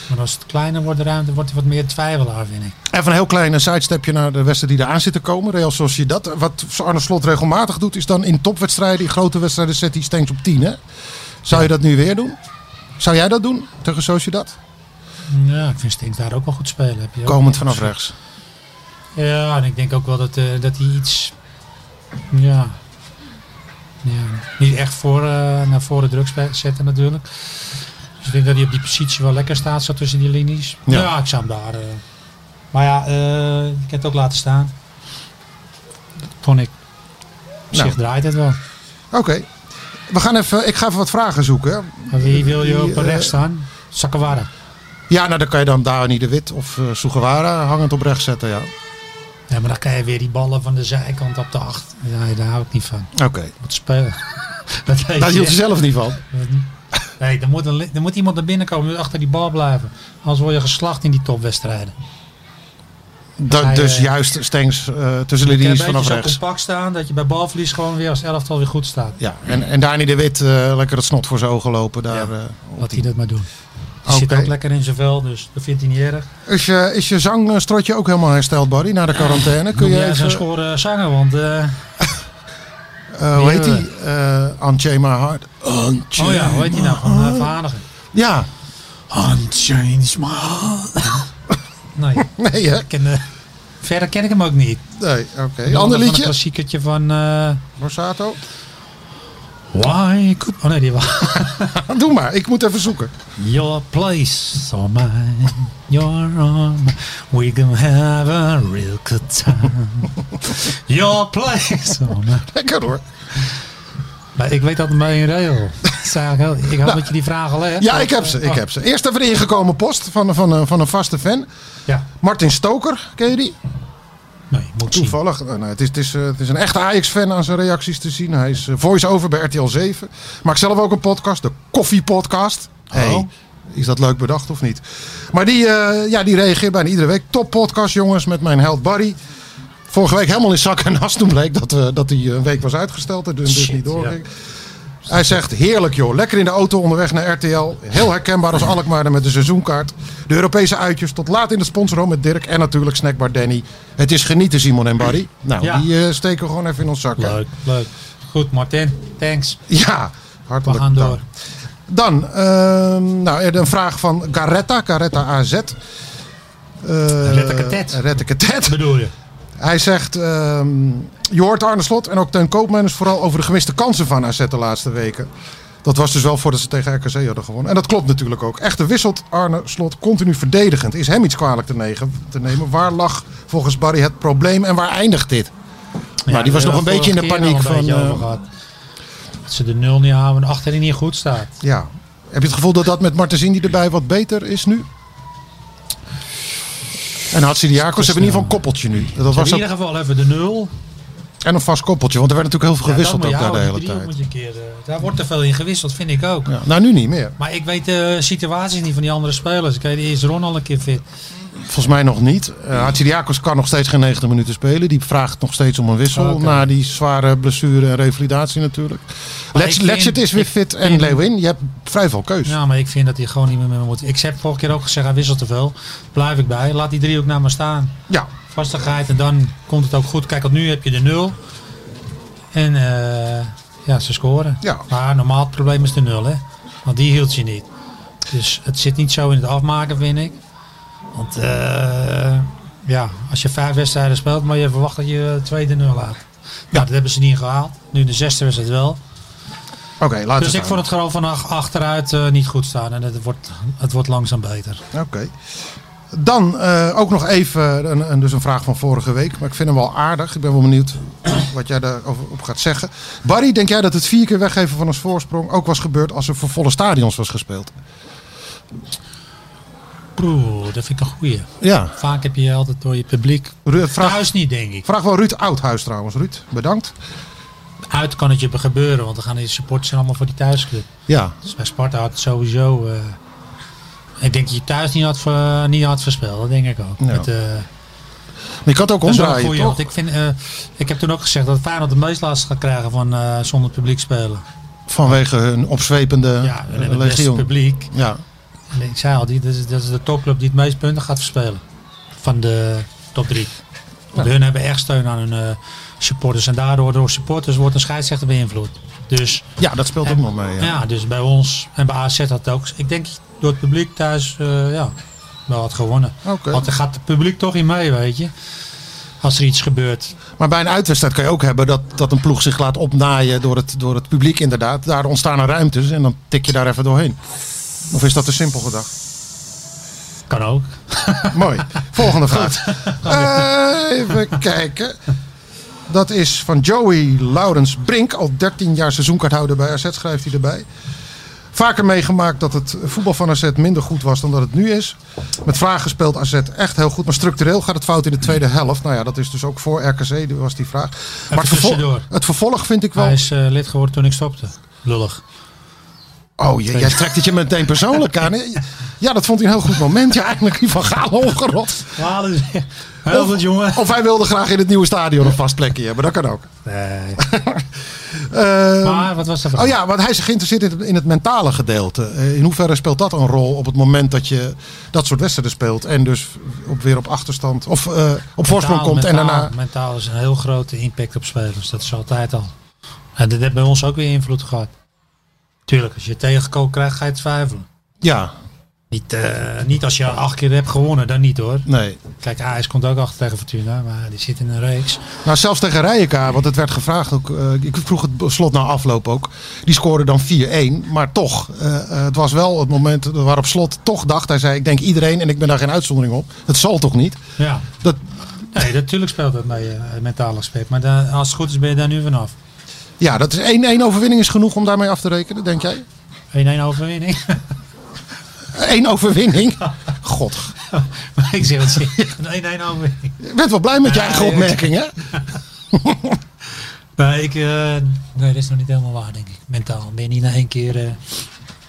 Speaker 8: Maar als het kleiner wordt, de ruimte, wordt hij wat meer twijfelaar, vind ik.
Speaker 7: Even een heel klein eh, sidestepje naar de wedstrijden die eraan zitten komen. Real Sociedad. eh, Wat Arne Slot regelmatig doet, is dan in topwedstrijden, in grote wedstrijden, zet hij steeds op 10. Hè? Zou je dat nu weer doen? Zou jij dat doen tegen Sociedad?
Speaker 8: Ja, ik vind Stink daar ook wel goed spelen. Heb je ook
Speaker 7: Komend
Speaker 8: wel
Speaker 7: vanaf
Speaker 8: gezien.
Speaker 7: rechts.
Speaker 8: Ja, en ik denk ook wel dat, eh, dat hij iets. Ja. ja. Niet echt voor, eh, naar voren druk spe- zetten, natuurlijk. Dus ik denk dat hij op die positie wel lekker staat, zo tussen die linies.
Speaker 7: Ja.
Speaker 8: Ja, ik zou hem daar. eh, maar ja, eh je kan het ook laten staan. Dat vond ik. Op
Speaker 7: Nou.
Speaker 8: zich draait het wel.
Speaker 7: Oké. We gaan even, ik ga even wat vragen zoeken. hè.
Speaker 8: Maar wie wil je op
Speaker 7: eh,
Speaker 8: rechts staan? Sakawara.
Speaker 7: Ja, nou dan kan je dan Dani de Wit of eh Sugawara hangend op rechts zetten. Ja.
Speaker 8: Ja, maar dan krijg je weer die ballen van de zijkant op de acht. Ja, daar hou ik niet van.
Speaker 7: Oké.
Speaker 8: Wat spelen. [LAUGHS] Dat heet
Speaker 7: Daar hield
Speaker 8: je-
Speaker 7: Nou, je zelf niet van.
Speaker 8: Nee, er moet, een, li- er moet iemand naar binnen komen, moet achter die bal blijven. Anders word je geslacht in die topwedstrijden.
Speaker 7: Da-
Speaker 8: Hij,
Speaker 7: dus
Speaker 8: eh,
Speaker 7: juist Stengs eh, tussen de
Speaker 8: Je kan een
Speaker 7: linies
Speaker 8: beetje
Speaker 7: vanaf
Speaker 8: zo
Speaker 7: rechts.
Speaker 8: compact staan dat je bij balverlies gewoon weer als elftal weer goed staat.
Speaker 7: Ja, en, en Dani de Wit eh, lekker het snot voor zijn ogen lopen. Daar,
Speaker 8: Ja.
Speaker 7: eh, op
Speaker 8: Laat
Speaker 7: die-
Speaker 8: hij dat maar doen. Hij
Speaker 7: Oké.
Speaker 8: zit ook lekker in zijn vel, dus dat vindt hij niet erg.
Speaker 7: Is je, is je zangstrotje ook helemaal hersteld, Barry, na
Speaker 8: Eh,
Speaker 7: de quarantaine? Kun
Speaker 8: Kun
Speaker 7: je
Speaker 8: jij zo'n
Speaker 7: even,
Speaker 8: schoren zanger, want... eh,
Speaker 7: eh, hoe heet
Speaker 8: Ja.
Speaker 7: die? eh Anchema Hart. Anchema.
Speaker 8: oh ja, hoe heet die nou? Gewoon eh, verhanigen.
Speaker 7: Ja,
Speaker 6: Unchains my heart.
Speaker 7: [LAUGHS]
Speaker 8: Nee,
Speaker 7: nee hè?
Speaker 8: ik ken, eh, verder ken ik hem ook niet.
Speaker 7: Nee, oké.
Speaker 8: Ik
Speaker 7: Ander
Speaker 8: van Een
Speaker 7: liedje?
Speaker 8: klassiekertje van... eh,
Speaker 7: Borsato? [LAUGHS]
Speaker 8: Why could... Oh nee, die was...
Speaker 7: Doe maar, ik moet even zoeken.
Speaker 8: [LAUGHS] Your place or mine, your arm, we can have a real good
Speaker 7: [LAUGHS]
Speaker 8: time. Your place or mine.
Speaker 7: Lekker hoor.
Speaker 8: Maar ik weet dat bij een rail. Ik hoop dat je die vraag al hebt.
Speaker 7: Nou, Ja, ik heb ze,
Speaker 8: Ah.
Speaker 7: ik heb ze. Eerst even de ingekomen post van, van, een- van een vaste fan.
Speaker 8: Ja,
Speaker 7: Martin Stoker, ken je die?
Speaker 8: nee, moet zien.
Speaker 7: Toevallig. Nou, nou, het, is, het, is, eh, het is een echte Ajax-fan aan zijn reacties te zien. Hij is eh, voice-over bij RTL 7. Maakt zelf ook een podcast, de Koffie Podcast.
Speaker 8: Oh.
Speaker 7: Hey, is dat leuk bedacht of niet? Maar die, eh, ja, die reageert bijna iedere week. Top podcast, jongens, met mijn held Barry. Vorige week helemaal in zak en as toen bleek dat, eh, dat hij een week was uitgesteld. En dus
Speaker 8: Shit,
Speaker 7: niet doorging. Hij zegt, heerlijk joh. Lekker in de auto onderweg naar RTL. Heel herkenbaar als Alkmaarder met de seizoenkaart. De Europese uitjes tot laat in de sponsorroom met Dirk. En natuurlijk snackbar Danny. Het is genieten Simon en Barry. Nou,
Speaker 8: Ja.
Speaker 7: die eh, steken we gewoon even in ons zak. hè.
Speaker 8: Leuk, leuk. Goed, Martin. Thanks.
Speaker 7: Ja,
Speaker 8: We
Speaker 7: hartelijk
Speaker 8: gaan
Speaker 7: dank.
Speaker 8: door.
Speaker 7: Dan, ehm, nou, er- een vraag van Garetta, Garetta Eh, AZ.
Speaker 8: Rette
Speaker 7: Rette
Speaker 8: Katet.
Speaker 7: Rette Katet.
Speaker 8: Bedoel je?
Speaker 7: Hij zegt, ehm, je hoort Arne Slot en ook Teun Koopmeiners vooral over de gemiste kansen van AZ de laatste weken. Dat was dus wel voordat ze tegen RKC hadden gewonnen. En dat klopt natuurlijk ook. Echter wisselt Arne Slot continu verdedigend. Is hem iets kwalijk te, negen- te nemen? Waar lag volgens Barry het probleem en waar eindigt dit? nou, die was nog een beetje in de paniek van... eh,
Speaker 8: Dat ze de nul niet houden en achterin niet goed staat.
Speaker 7: ja. Heb je het gevoel dat dat met Martensini erbij wat beter is nu? En had Sidiakos hebben in ieder geval een koppeltje nu. Dat
Speaker 8: Dus
Speaker 7: was
Speaker 8: in
Speaker 7: ook,
Speaker 8: ieder geval even de nul.
Speaker 7: en een vast koppeltieje, want er werd natuurlijk heel veel
Speaker 8: Ja, dat
Speaker 7: gewisseld
Speaker 8: moet je
Speaker 7: ook daar de
Speaker 8: houden.
Speaker 7: hele
Speaker 8: Die driehoek
Speaker 7: tijd.
Speaker 8: moet je een keer, eh, daar wordt te veel in gewisseld, vind ik ook.
Speaker 7: Ja, nou, nu niet meer.
Speaker 8: Maar ik weet de situaties niet van die andere spelers. Ik weet, die is Ron al een keer fit.
Speaker 7: Volgens mij nog niet. Uh, Hatsidiakos kan nog steeds geen 90 minuten spelen. Die vraagt nog steeds om een wissel.
Speaker 8: Oké.
Speaker 7: Na die zware blessure en revalidatie natuurlijk. Let's,
Speaker 8: ik vind-
Speaker 7: Let's is weer fit en Leeuwin. Je hebt vrij veel keus.
Speaker 8: Ja, maar ik vind dat hij gewoon niet meer mee moet. Ik heb vorige keer ook gezegd, hij wisselt te veel. Blijf ik bij. Laat die drie ook naar me staan.
Speaker 7: Ja.
Speaker 8: Vastigheid en dan komt het ook goed. Kijk, want nu heb je de nul. En eh, ja, ze scoren.
Speaker 7: Ja.
Speaker 8: Maar normaal het probleem is de nul, hè. Want die hield je niet. Dus het zit niet zo in het afmaken, vind ik. Want eh, ja, als je vijf wedstrijden speelt, maar je verwacht dat je eh, twee de nul laat. Ja, dat hebben ze niet gehaald. Nu de zesde wedstrijd wel.
Speaker 7: Oké, laten we
Speaker 8: Dus ik
Speaker 7: gaan.
Speaker 8: vond het gewoon van ach- achteruit eh, niet goed staan. En het wordt, het wordt langzaam beter.
Speaker 7: Oké. Dan eh, ook nog even een, een, dus een vraag van vorige week. Maar ik vind hem wel aardig. Ik ben wel benieuwd [CLEARS THROAT] wat jij daarover op gaat zeggen. Barry, denk jij dat het vier keer weggeven van ons voorsprong ook was gebeurd als er voor volle stadions was gespeeld?
Speaker 8: Proe, dat vind ik een goeie.
Speaker 7: Ja.
Speaker 8: Vaak heb je altijd door je publiek.
Speaker 7: Ru- vraag,
Speaker 8: Thuis niet, denk ik.
Speaker 7: vraag wel Ruud Oudhuis trouwens. Ruud, bedankt.
Speaker 8: Uit kan het je gebeuren, want dan gaan die supporters zijn allemaal voor die thuisclub.
Speaker 7: Ja,
Speaker 8: Dus bij Sparta had het sowieso. eh, ik denk dat je thuis niet had, ver- niet had verspeeld, dat denk ik ook.
Speaker 7: Ja.
Speaker 8: Met, eh,
Speaker 7: Maar je kan het ook
Speaker 8: dat is wel een
Speaker 7: Nou, omdraaien,
Speaker 8: goeie,
Speaker 7: toch?
Speaker 8: want ik, vind, eh, ik heb toen ook gezegd dat Feyenoord de meest last gaat krijgen van eh, zonder publiek spelen.
Speaker 7: Vanwege hun opzwepende
Speaker 8: Ja, en
Speaker 7: eh,
Speaker 8: het beste
Speaker 7: legioen.
Speaker 8: publiek.
Speaker 7: Ja.
Speaker 8: En Ik zei al, die, dat, is, dat is de topclub die het meest punten gaat verspelen. Van de top drie. Want hun hebben echt steun aan hun eh, supporters. En daardoor door supporters wordt een scheidsrechter beïnvloed. Dus,
Speaker 7: Ja, dat speelt ook nog mee.
Speaker 8: ja.
Speaker 7: Ja.
Speaker 8: dus bij ons en bij AZ had het ook. Ik denk door het publiek thuis eh, ja, wel had gewonnen.
Speaker 7: Oké.
Speaker 8: Want er gaat het publiek toch in mee, weet je. Als er iets gebeurt.
Speaker 7: Maar bij een uitwedstrijd kan je ook hebben dat, dat een ploeg zich laat opnaaien door het, door het publiek inderdaad. Daar ontstaan er ruimtes en dan tik je daar even doorheen. Of is dat te simpel gedacht?
Speaker 8: Kan ook.
Speaker 7: Oh. Mooi.
Speaker 8: [LAUGHS]
Speaker 7: Volgende vraag. Eh, even kijken. Dat is van Joey Laurens Brink. Al 13 jaar seizoenkaarthouder bij AZ schrijft hij erbij. Vaker meegemaakt dat het voetbal van AZ minder goed was dan dat het nu is. Met vragen speelt AZ echt heel goed. Maar structureel gaat het fout in de tweede helft. Nou ja, dat is dus ook voor RKC was die vraag. Maar het, vervol-
Speaker 8: tussendoor.
Speaker 7: het vervolg vind ik wel...
Speaker 8: Hij is eh, lid geworden toen ik stopte. Lullig.
Speaker 7: Oh, j- jij trekt het je meteen persoonlijk aan. hè? Ja, dat vond hij een heel goed moment. Ja, eigenlijk die van Gaal ongerot.
Speaker 8: Ja, dat is heel goed, jongen.
Speaker 7: Of hij wilde graag in het nieuwe stadion een vast plekje hebben. Dat kan ook.
Speaker 8: Nee.
Speaker 7: Ehm,
Speaker 8: Maar wat was de vraag?
Speaker 7: oh ja, want hij is geïnteresseerd in het, in het mentale gedeelte. Eh, In hoeverre speelt dat een rol op het moment dat je dat soort wedstrijden speelt. En dus op, weer op achterstand of eh, op voorsprong
Speaker 8: Mentaal-
Speaker 7: komt. en
Speaker 8: mentaal-
Speaker 7: daarna...
Speaker 8: Mentaal is een heel grote impact op spelers. Dat is altijd al. En dat heeft bij ons ook weer invloed gehad. Tuurlijk, als je tegenkoop krijgt, ga je twijfelen.
Speaker 7: Ja,
Speaker 8: Niet, eh, niet als je acht keer hebt gewonnen, dan niet hoor.
Speaker 7: nee.
Speaker 8: Kijk, AS komt ook achter tegen Fortuna, maar die zit in een reeks.
Speaker 7: Nou, zelfs tegen Rijeka, want het werd gevraagd ook. eh, ik vroeg het slot na afloop ook. Die scoorde dan 4-1. Maar toch, eh, eh, het was wel het moment waarop slot toch dacht. Hij zei: Ik denk iedereen en ik ben daar geen uitzondering op. Het zal toch niet?
Speaker 8: Ja,
Speaker 7: Dat,
Speaker 8: nee, natuurlijk speelt dat mee, eh, het mentaal aspect. Maar daar- als het goed is, ben je daar nu vanaf.
Speaker 7: ja, dat is 1-1 overwinning is genoeg om daarmee af te rekenen, denk jij?
Speaker 8: 1-1 overwinning. [LAUGHS]
Speaker 7: Eén overwinning? God.
Speaker 8: maar ik zeg het zeker. 1-1 overwinning.
Speaker 7: Je bent wel blij met je
Speaker 8: Ja,
Speaker 7: eigen
Speaker 8: ja.
Speaker 7: opmerking, hè?
Speaker 8: Nee, ik, eh, nee, dat is nog niet helemaal waar, denk ik. Mentaal. Ben je niet na één keer. eh,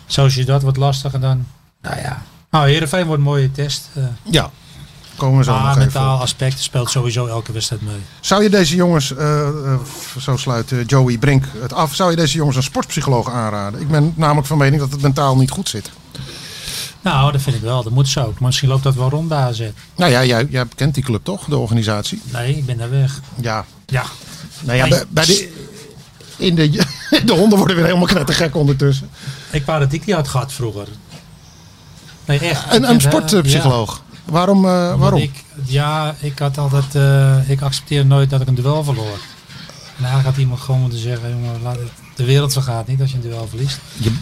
Speaker 8: zoals je dat wordt lastiger dan. Nou ja. Nou, Heerenveen wordt een mooie test. eh
Speaker 7: Ja. Komen we zo nog
Speaker 8: maar
Speaker 7: even op.
Speaker 8: mentaal aspect speelt sowieso elke wedstrijd mee.
Speaker 7: Zou je deze jongens, eh, eh, zo sluit eh, Joey Brink het af, zou je deze jongens een sportpsycholoog aanraden? Ik ben namelijk van mening dat het mentaal niet goed zit.
Speaker 8: Nou, dat vind ik wel. Dat moet zo. Maar misschien loopt dat wel rond daar zet.
Speaker 7: Nou ja, jij, jij kent die club toch, de organisatie?
Speaker 8: Nee, ik ben daar weg.
Speaker 7: Ja.
Speaker 8: Ja.
Speaker 7: Nou ja,
Speaker 8: Nee.
Speaker 7: bij, bij de, in de, de [LAUGHS] honden worden weer helemaal knettergek ondertussen.
Speaker 8: Ik wou dat ik die had gehad vroeger. Nee, echt. Ik
Speaker 7: Een,
Speaker 8: ben,
Speaker 7: een
Speaker 8: eh,
Speaker 7: sportpsycholoog. Waarom? eh,
Speaker 8: ja.
Speaker 7: waarom?
Speaker 8: Ik, ja, ik had altijd. eh, ik accepteer nooit dat ik een duel verloor. En eigenlijk had iemand gewoon moeten zeggen: jongen, laat het, de wereld vergaat niet als je een duel verliest.
Speaker 7: Je,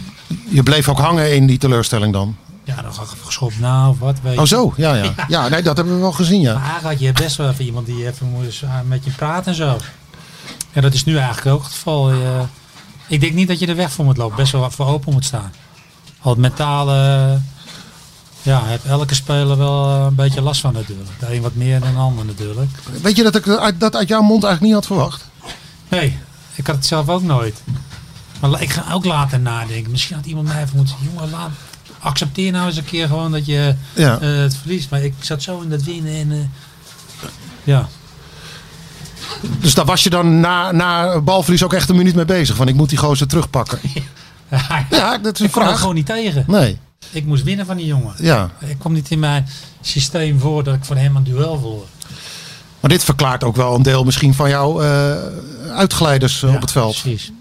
Speaker 7: je bleef ook hangen in die teleurstelling dan.
Speaker 8: Ja, dan ga ik even geschopt na of wat. Weet
Speaker 7: Oh
Speaker 8: je.
Speaker 7: zo, ja ja. Ja, nee, dat hebben we wel gezien ja.
Speaker 8: Maar eigenlijk had je best wel even iemand die even moest eh, met je praten en zo. En dat is nu eigenlijk ook het geval. Je- ik denk niet dat je er weg voor moet lopen. Best wel wat voor open moet staan. Al het mentale... Ja, heeft elke speler wel eh, een beetje last van natuurlijk. De een wat meer dan de ander natuurlijk.
Speaker 7: Weet je dat ik dat uit- dat uit jouw mond eigenlijk niet had verwacht?
Speaker 8: Nee, ik had het zelf ook nooit. Maar la- ik ga ook later nadenken. Misschien had iemand mij even moeten zeggen, jongen, laat, accepteer nou eens een keer gewoon dat je
Speaker 7: Ja.
Speaker 8: eh, het verliest. Maar ik zat zo in dat winnen en... eh, ja, [LAUGHS]
Speaker 7: Dus daar was je dan na, na balverlies ook echt een minuut mee bezig. Van ik moet die gozer
Speaker 8: [LAUGHS]
Speaker 7: terugpakken. Ja, dat is een
Speaker 8: ik kwam er
Speaker 7: vraag.
Speaker 8: gewoon niet tegen.
Speaker 7: Nee,
Speaker 8: Ik moest winnen van die jongen.
Speaker 7: ja.
Speaker 8: Ik kwam niet in mijn systeem voor dat ik voor hem een duel verloor.
Speaker 7: Maar dit verklaart ook wel een deel misschien van jouw eh, uitglijders eh,
Speaker 8: Ja,
Speaker 7: op het veld.
Speaker 8: Precies.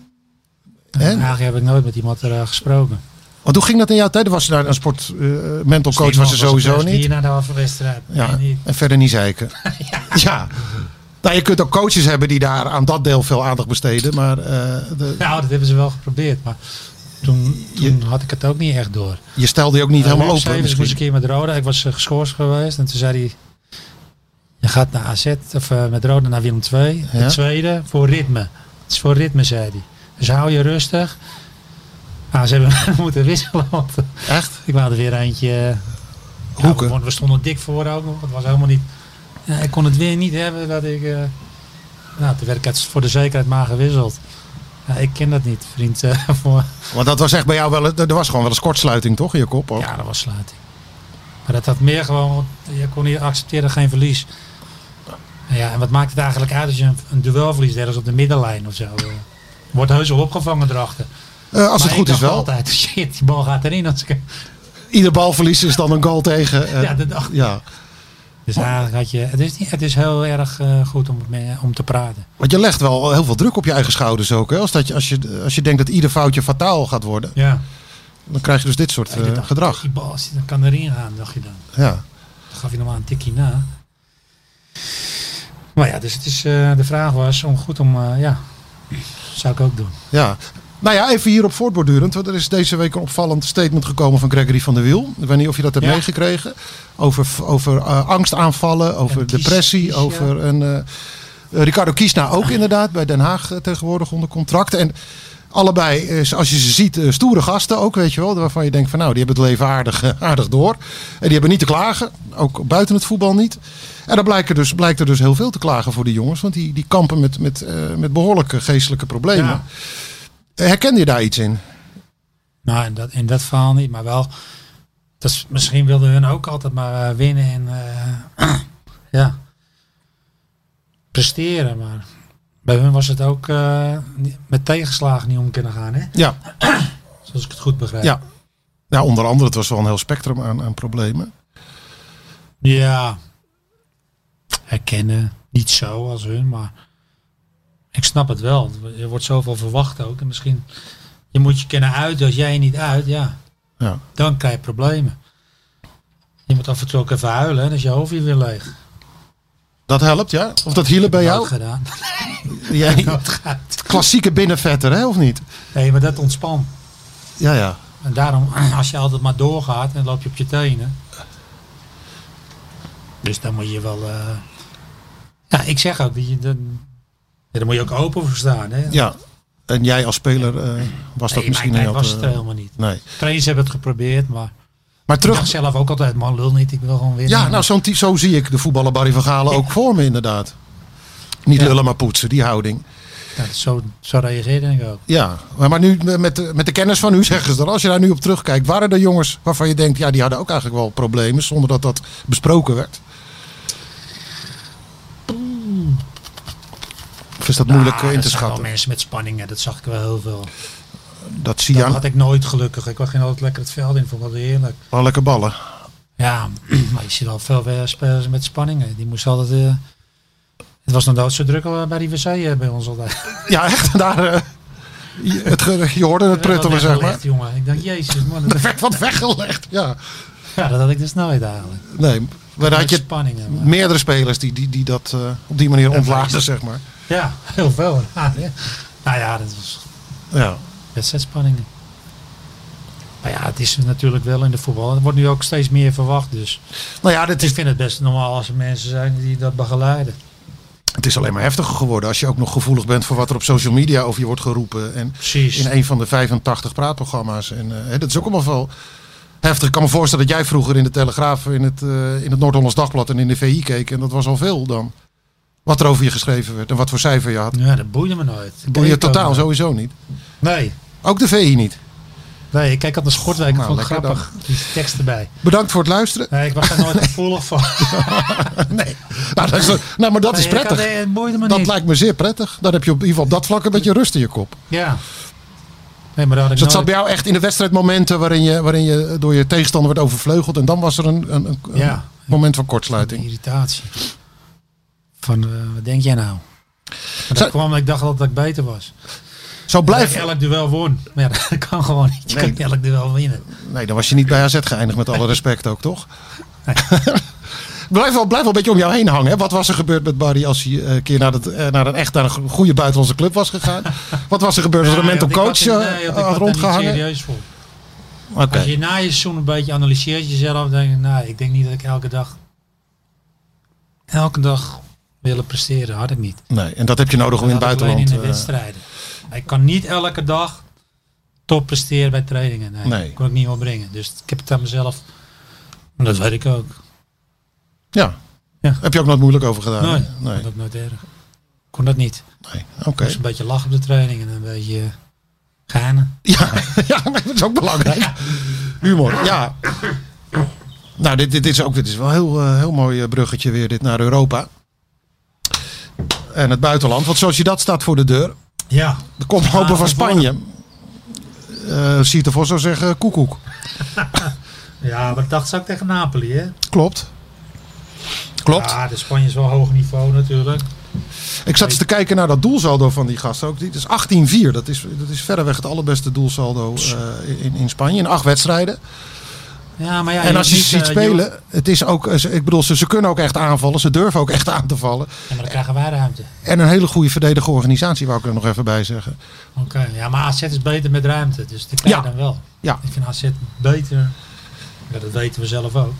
Speaker 7: Hè?
Speaker 8: Eigenlijk heb ik nooit met iemand er, eh, gesproken.
Speaker 7: Want hoe ging dat in jouw tijd? Er Was je daar een sport, eh, mental coach was er sowieso niet.
Speaker 8: Hier naar de afwedstrijd.
Speaker 7: Ja,
Speaker 8: Ja. Niet.
Speaker 7: en verder niet zeiken.
Speaker 8: [LAUGHS]
Speaker 7: Ja. Nou, je kunt ook coaches hebben die daar aan dat deel veel aandacht besteden. Maar eh, de-
Speaker 8: Nou, dat hebben ze wel geprobeerd, maar toen, toen had ik het ook niet echt door.
Speaker 7: je stelde je ook niet helemaal
Speaker 8: Ruud
Speaker 7: open.
Speaker 8: Stevens moest dus een
Speaker 7: misschien.
Speaker 8: keer met Roda. Ik was eh, geschorst geweest en toen zei hij... Je gaat naar AZ, of eh, met Roda naar Willem II.
Speaker 7: Ja.
Speaker 8: De tweede, voor ritme. Het is voor ritme, zei hij. Dus hou je rustig. Nou, ze hebben [LAUGHS] moeten wisselen. Want [LAUGHS]
Speaker 7: Echt?
Speaker 8: ik wou er weer eentje... eh, ja,
Speaker 7: Hoeken.
Speaker 8: we- we stonden dik voor ook nog. Het was helemaal niet... Ja, ik kon het weer niet hebben dat ik... eh, nou, toen werd ik het voor de zekerheid maar gewisseld. Ja, ik ken dat niet, vriend. eh, [LAUGHS] voor,
Speaker 7: Want dat was echt bij jou wel... een- Er was gewoon wel eens kortsluiting toch in je kop? Ook.
Speaker 8: ja, dat was sluiting. Maar dat had meer gewoon, je kon niet accepteren geen verlies. Nou Ja, en wat maakt het eigenlijk uit als je een, een duel verliest ergens op de middenlijn of zo? eh? Wordt heus wel opgevangen erachter.
Speaker 7: Eh, als
Speaker 8: Maar
Speaker 7: het goed
Speaker 8: ik
Speaker 7: is
Speaker 8: dacht [LAUGHS]
Speaker 7: wel.
Speaker 8: altijd, shit, die bal gaat erin. Als ik,
Speaker 7: Ieder balverlies is dan een goal tegen. eh,
Speaker 8: Ja, dat dacht ik.
Speaker 7: ja.
Speaker 8: Dus eigenlijk had je, het is, niet, het is heel erg eh, goed om, mee- om te praten.
Speaker 7: Want je legt wel heel veel druk op je eigen schouders ook. Hè? Als, dat je, als, je, als je denkt dat ieder foutje fataal gaat worden,
Speaker 8: Ja.
Speaker 7: dan krijg je dus dit soort eh, gedrag.
Speaker 8: Die bal als die dan kan erin gaan, dacht je dan.
Speaker 7: Ja.
Speaker 8: Dan gaf je normaal een tikje na. Maar ja, dus het is, eh, de vraag was om goed om, eh, ja, zou ik ook doen.
Speaker 7: Ja. Nou ja, even hierop voortbordurend. Want er is deze week een opvallend statement gekomen van Gregory van der Wiel. Ik weet niet of je dat hebt
Speaker 8: Ja.
Speaker 7: meegekregen. Over, over eh, angstaanvallen, over
Speaker 8: En Kies-
Speaker 7: depressie,
Speaker 8: Kies, ja.
Speaker 7: over een... eh, Ricardo Kiesna ook inderdaad, bij Den Haag eh, tegenwoordig onder contract. En allebei, eh, als je ze ziet, eh, stoere gasten ook, weet je wel. Waarvan je denkt van nou, die hebben het leven aardig, eh, aardig door. En die hebben niet te klagen, ook buiten het voetbal niet. En dan blijkt er dus, blijkt er dus heel veel te klagen voor die jongens. Want die, die kampen met, met, eh, met behoorlijke geestelijke problemen.
Speaker 8: Ja.
Speaker 7: Herkende je daar iets in?
Speaker 8: Nou, in dat, in dat verhaal niet, maar wel. Dat is, misschien wilden hun ook altijd maar eh, winnen en eh, [CLEARS THROAT] ja, presteren. Maar bij hun was het ook eh, niet- met tegenslagen niet om kunnen gaan, hè?
Speaker 7: Ja,
Speaker 8: Zoals ik het goed begrijp.
Speaker 7: ja. Eh. ja onder andere, het was wel een heel spectrum aan, aan problemen.
Speaker 8: Ja. Herkennen. Niet zo als hun, maar ik snap het wel. Er wordt zoveel verwacht ook. En misschien, je moet je kennen uit. Als jij je niet uit, ja,
Speaker 7: Ja.
Speaker 8: dan krijg je problemen. Je moet af en toe ook even huilen, hè, dan is je hoofd hier weer leeg. Ik
Speaker 7: Dat helpt, ja? Of dat hielen bij
Speaker 8: heb [LAUGHS]
Speaker 7: jou?
Speaker 8: dat gedaan.
Speaker 7: Jij,
Speaker 8: Dat gaat.
Speaker 7: klassieke binnenvetter, hè, of niet?
Speaker 8: Nee, maar dat ontspant.
Speaker 7: Ja, ja.
Speaker 8: En daarom, [CLEARS THROAT] als je altijd maar doorgaat, dan loop je op je tenen. Dus dan moet je wel... eh, Ja, ik zeg ook, dat je, dan, ja, daar moet je ook open voor staan. Hè?
Speaker 7: ja. En jij als speler eh, was dat
Speaker 8: Nee,
Speaker 7: misschien
Speaker 8: mijn tijd
Speaker 7: heel...
Speaker 8: was
Speaker 7: eh,
Speaker 8: het helemaal niet.
Speaker 7: nee.
Speaker 8: Trainers hebben het geprobeerd, maar
Speaker 7: Maar
Speaker 8: terug
Speaker 7: terug...
Speaker 8: zelf ook altijd, man, lul niet, ik wil gewoon winnen.
Speaker 7: Ja, nou, zo'n ty- zo zie ik de voetballer Barry van Galen ook voor me, inderdaad. Niet
Speaker 8: Ja.
Speaker 7: lullen, maar poetsen, die houding.
Speaker 8: Ja, zo, zo reageerde ik ook.
Speaker 7: Ja, maar maar nu met de, met de kennis van nu zeggen ze dan, als je daar nu op terugkijkt, waren er jongens waarvan je denkt, ja, die hadden ook eigenlijk wel problemen, zonder dat dat besproken werd? Of is dat moeilijk eh,
Speaker 8: Ah,
Speaker 7: in te
Speaker 8: dat zijn wel
Speaker 7: schatten?
Speaker 8: mensen met spanningen, dat zag ik wel heel veel.
Speaker 7: Dat zie je
Speaker 8: Dat
Speaker 7: aan
Speaker 8: had ik nooit gelukkig. Ik ging altijd lekker het veld in, vond ik wel heerlijk.
Speaker 7: wel lekker ballen.
Speaker 8: Ja, [CLEARS THROAT] maar je ziet al veel eh, spelers met spanningen. Die moesten altijd... eh, het was nog nooit zo druk al bij die wc eh, bij ons altijd.
Speaker 7: Ja, echt, daar, eh, je- het, ge- je hoorde [LAUGHS] het pruttelen, zeg maar.
Speaker 8: Weggelegd, jongen. Ik dacht, jezus man.
Speaker 7: [LAUGHS] Er
Speaker 8: Dat,
Speaker 7: werd wat weggelegd, ja.
Speaker 8: ja, dat had ik dus nooit eigenlijk.
Speaker 7: Nee, maar daar had
Speaker 8: Met
Speaker 7: je
Speaker 8: spanningen. maar-
Speaker 7: meerdere spelers die, die, die dat eh, op die manier ontladen, zeg maar.
Speaker 8: Ja, heel veel. [LAUGHS] Ja, hè. nou ja, dat was
Speaker 7: Ja.
Speaker 8: wedstrijdspanningen. Maar ja, het is natuurlijk wel in de voetbal. Er wordt nu ook steeds meer verwacht. Dus
Speaker 7: Nou ja, dit
Speaker 8: ik
Speaker 7: is,
Speaker 8: vind het best normaal als er mensen zijn die dat begeleiden.
Speaker 7: het is alleen maar heftiger geworden als je ook nog gevoelig bent voor wat er op social media over je wordt geroepen. En
Speaker 8: Precies.
Speaker 7: in een van de 85 praatprogramma's. En eh, hè, dat is ook allemaal wel heftig. Ik kan me voorstellen dat jij vroeger in de Telegraaf, in het, eh, in het Noord-Hollands Dagblad en in de VI keek. En dat was al veel dan. Wat er over je geschreven werd en wat voor cijfer je had.
Speaker 8: Ja, dat boeide me nooit. Ik
Speaker 7: Doe je
Speaker 8: keek
Speaker 7: totaal
Speaker 8: ook nooit.
Speaker 7: sowieso niet.
Speaker 8: Nee,
Speaker 7: Ook de VI niet.
Speaker 8: nee, ik kijk aan de Schortwijk. Ik
Speaker 7: Nou,
Speaker 8: vond het
Speaker 7: lekker
Speaker 8: grappig. Die tekst erbij.
Speaker 7: Bedankt voor het
Speaker 8: [LAUGHS]
Speaker 7: luisteren.
Speaker 8: Nee, ik was daar
Speaker 7: [LAUGHS]
Speaker 8: nooit gevoelig van.
Speaker 7: Nee, nou, dat is, nou maar dat is
Speaker 8: Nee, ik had-
Speaker 7: prettig.
Speaker 8: nee, het boeide me
Speaker 7: Dat
Speaker 8: niet.
Speaker 7: lijkt me zeer prettig. Dan heb je op, in ieder geval op dat vlak een beetje rust in je kop.
Speaker 8: Ja. Nee, maar daar had ik
Speaker 7: Dus dat zat
Speaker 8: nooit-
Speaker 7: bij jou echt in de wedstrijdmomenten waarin je, waarin je door je tegenstander werd overvleugeld. En dan was er een, een, een- een
Speaker 8: Ja.
Speaker 7: moment van kortsluiting.
Speaker 8: irritatie. Van, eh, wat denk jij nou? Maar dat
Speaker 7: Zou-
Speaker 8: kwam, ik dacht altijd dat ik beter was.
Speaker 7: Zo
Speaker 8: Blijf
Speaker 7: blijf.
Speaker 8: elk duel won. Maar ja, [LAUGHS] dat kan gewoon niet. Je
Speaker 7: Nee.
Speaker 8: kan elk duel winnen.
Speaker 7: Nee, dan was je niet bij AZ geëindigd met alle respect ook, toch? [LAUGHS] blijf, wel, blijf wel een beetje om jou heen hangen. Hè? Wat was er gebeurd met Barry als hij eh, een keer naar, het, eh, naar een echt naar een goede buitenlandse club was
Speaker 8: [LAUGHS]
Speaker 7: gegaan? Wat was er gebeurd als er een
Speaker 8: Ja,
Speaker 7: mental
Speaker 8: joh, ik
Speaker 7: coach
Speaker 8: had er-
Speaker 7: eh,
Speaker 8: nee, joh, ik
Speaker 7: eh,
Speaker 8: had er niet
Speaker 7: rondgehangen?
Speaker 8: serieus voor.
Speaker 7: Oké.
Speaker 8: Als je na je seizoen een beetje analyseert jezelf, denk je, nou, ik denk niet dat ik elke dag, elke dag willen presteren. Had ik niet.
Speaker 7: Nee, en dat heb je nodig om in
Speaker 8: Dat
Speaker 7: het
Speaker 8: had ik alleen
Speaker 7: buitenland.
Speaker 8: in de
Speaker 7: eh,
Speaker 8: wedstrijden. Maar ik kan niet elke dag top presteren bij trainingen. Nee,
Speaker 7: Nee.
Speaker 8: Dat kon ik niet opbrengen. Dus ik heb het aan mezelf. En dat weet ik ook.
Speaker 7: eh, ja.
Speaker 8: Ja.
Speaker 7: Heb je ook nooit moeilijk over gedaan?
Speaker 8: nee,
Speaker 7: hè?
Speaker 8: ik vond dat nooit erg. Ik kon dat niet.
Speaker 7: nee. Oké.
Speaker 8: Ik moest een beetje lachen op de training en een beetje eh, ganen.
Speaker 7: Ja, [LAUGHS] ja maar dat is ook belangrijk. Humor, ja. Nou, dit, dit, dit is ook dit is wel een heel, eh, heel mooi eh, bruggetje weer dit naar Europa. En het buitenland. Want zoals je dat staat voor de deur.
Speaker 8: Ja.
Speaker 7: De koploper
Speaker 8: Ah,
Speaker 7: van
Speaker 8: dat
Speaker 7: Spanje. Eh ziet ervoor zou zeggen koekoek.
Speaker 8: Ja, Ja, maar ik dacht ze ook tegen Napoli, hè?
Speaker 7: Klopt. Klopt.
Speaker 8: Ja, de Spanje is wel hoog niveau natuurlijk.
Speaker 7: Ik zat eens te kijken naar dat doelsaldo van die gasten. Ook, dit is 18-4. Dat is, dat is verreweg het allerbeste doelsaldo eh, in, in Spanje. In acht wedstrijden.
Speaker 8: Ja, maar ja,
Speaker 7: En als je
Speaker 8: hoeft
Speaker 7: ze ziet
Speaker 8: niet, eh, je hoeft-
Speaker 7: spelen. Het is ook, eh, ze- ik bedoel, ze, ze kunnen ook echt aanvallen. Ze durven ook echt aan te vallen.
Speaker 8: Ja, maar dan krijgen wij ruimte.
Speaker 7: En een hele goede verdedige organisatie, wou ik er nog even bij zeggen.
Speaker 8: Oké, ja, maar AZ is beter met ruimte, dus dat krijg je
Speaker 7: Ja.
Speaker 8: dan wel.
Speaker 7: Ja.
Speaker 8: Ik vind AZ beter. Ja, dat weten we zelf ook.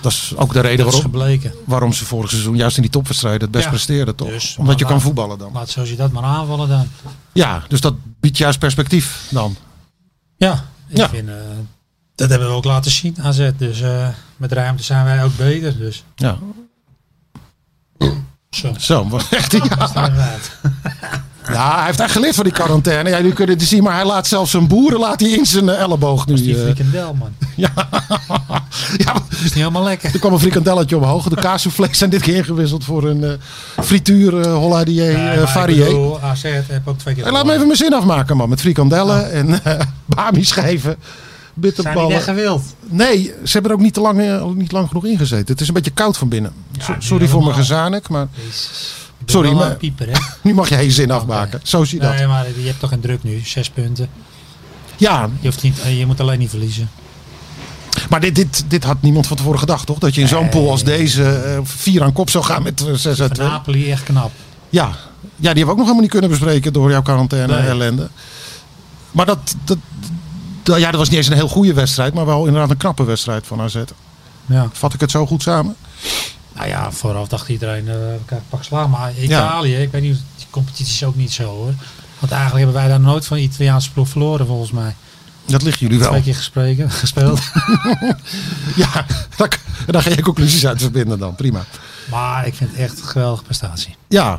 Speaker 7: Dat is ook de reden
Speaker 8: Dat is
Speaker 7: waarom,
Speaker 8: gebleken.
Speaker 7: waarom ze vorig seizoen juist in die topwedstrijden het best
Speaker 8: Ja.
Speaker 7: presteerden, toch?
Speaker 8: Dus,
Speaker 7: Omdat je kan
Speaker 8: maar laat-
Speaker 7: voetballen dan.
Speaker 8: Laat zo je dat maar aanvallen dan.
Speaker 7: Ja, dus dat biedt juist perspectief dan.
Speaker 8: Ja, ik
Speaker 7: Ja.
Speaker 8: vind... eh, dat hebben we ook laten zien, AZ. Dus eh, met ruimte zijn wij ook beter. Dus
Speaker 7: Ja,
Speaker 8: zo.
Speaker 7: zo. maar Echt, [LAUGHS] ja.
Speaker 8: staan we uit.
Speaker 7: ja, hij heeft echt geleerd van die quarantaine. Ja, jullie kunnen het zien, maar hij laat zelfs zijn boeren laat hij in zijn eh, elleboog nu.
Speaker 8: Die
Speaker 7: eh.
Speaker 8: frikandel,
Speaker 7: [LAUGHS]
Speaker 8: man.
Speaker 7: ja, maar
Speaker 8: Dat is niet helemaal lekker.
Speaker 7: er kwam een frikandelletje omhoog. De kaasvlees zijn dit keer ingewisseld voor een eh frituur eh Holladier
Speaker 8: Nee, maar
Speaker 7: eh
Speaker 8: ik
Speaker 7: varié.
Speaker 8: bedoel, AZ heb ook twee keer
Speaker 7: Hey, laat me even
Speaker 8: gewonnen.
Speaker 7: mijn zin afmaken, man. Met frikandellen en eh [LAUGHS] bami-schijven,
Speaker 8: Zijn die
Speaker 7: bitterballen.
Speaker 8: echt gewild?
Speaker 7: Nee, ze hebben er ook niet, te lang, eh, niet lang genoeg ingezeten. Het is een beetje koud van binnen. So-
Speaker 8: niet
Speaker 7: sorry voor mijn
Speaker 8: helemaal.
Speaker 7: gezanik, maar
Speaker 8: Jezus. Ik ben
Speaker 7: Sorry,
Speaker 8: wel
Speaker 7: maar-
Speaker 8: een pieper, hè?
Speaker 7: nu mag jij je zin afmaken. Zo zie je dat.
Speaker 8: Nee, maar je hebt toch een druk nu. Zes punten.
Speaker 7: Ja,
Speaker 8: Je, hoeft niet, eh, je moet alleen niet verliezen.
Speaker 7: maar dit, dit, dit had niemand van tevoren gedacht, toch? Dat je in zo'n pool als deze eh, vier aan kop zou gaan met eh, zes uit
Speaker 8: Van
Speaker 7: twee.
Speaker 8: Napoli echt knap.
Speaker 7: Ja. ja, die hebben we ook nog helemaal niet kunnen bespreken door jouw quarantaine
Speaker 8: Nee.
Speaker 7: ellende. Maar dat, dat, dat- ja, dat was niet eens een heel goede wedstrijd, maar wel inderdaad een knappe wedstrijd van AZ.
Speaker 8: Ja.
Speaker 7: Vat ik het zo goed samen?
Speaker 8: Nou ja, vooraf dacht iedereen, eh, we krijgen pak slaag. Maar Italië, ik weet niet, die competitie is ook niet zo hoor. Want eigenlijk hebben wij daar nooit van de Italiaanse ploeg verloren volgens mij.
Speaker 7: Dat ligt jullie wel.
Speaker 8: Twee keer gespreken, [LAUGHS] gespeeld.
Speaker 7: Ja, [LAUGHS] daar, daar ga je conclusies uit verbinden dan. Prima.
Speaker 8: maar ik vind het echt een geweldige prestatie.
Speaker 7: Ja.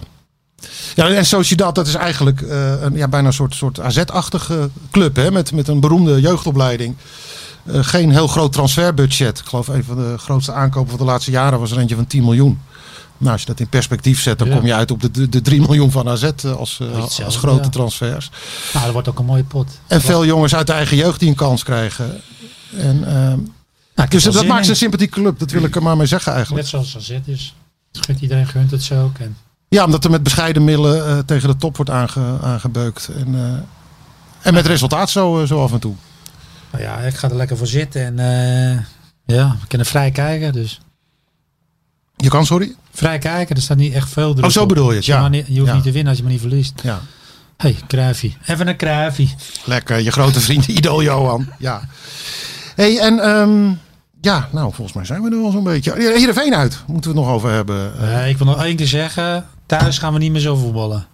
Speaker 7: Ja, en Sociedad, dat is eigenlijk eh, een, ja, bijna een soort, soort AZ-achtige club. Hè? Met, met een beroemde jeugdopleiding. Eh, geen heel groot transferbudget. Ik geloof een van de grootste aankopen van de laatste jaren was er eentje van 10 miljoen. Nou, als je dat in perspectief zet, dan
Speaker 8: Ja.
Speaker 7: kom je uit op de- de, de 3 miljoen van AZ eh, als, eh,
Speaker 8: Iets
Speaker 7: als
Speaker 8: zelfs,
Speaker 7: grote
Speaker 8: ja.
Speaker 7: transfers.
Speaker 8: Nou, dat wordt ook een mooie pot.
Speaker 7: En veel jongens uit de eigen jeugd die een kans krijgen. En, ehm,
Speaker 8: Nou, ik heb
Speaker 7: dus
Speaker 8: er
Speaker 7: dat
Speaker 8: zin
Speaker 7: maakt ze een
Speaker 8: in.
Speaker 7: sympathieke club. Dat wil ik er maar mee zeggen eigenlijk.
Speaker 8: Net zoals AZ is. Het gunt iedereen gunt het ze ook. En
Speaker 7: Ja, omdat er met bescheiden middelen eh, tegen de top wordt aange- aangebeukt. En, eh, en met resultaat zo, eh, zo af en toe.
Speaker 8: nou ja, ik ga er lekker voor zitten. En eh, ja, we kunnen vrij kijken. Dus
Speaker 7: Je kan, sorry?
Speaker 8: vrij kijken, er staat niet echt veel druk
Speaker 7: Oh, zo
Speaker 8: op.
Speaker 7: bedoel je het, ja.
Speaker 8: Maar niet- je hoeft
Speaker 7: Ja.
Speaker 8: niet te winnen als je maar niet verliest.
Speaker 7: Ja.
Speaker 8: Hey, Kruifie. Even een Kruifie.
Speaker 7: Lekker, je grote vriend [LAUGHS] Ido Johan. Ja. hey, en ehm, ja, nou, volgens mij zijn we er wel zo'n beetje. Ja, Heerenveen uit, moeten we het nog over hebben. Eh,
Speaker 8: Eh, ik wil nog één keer zeggen, thuis gaan we niet meer zo voetballen.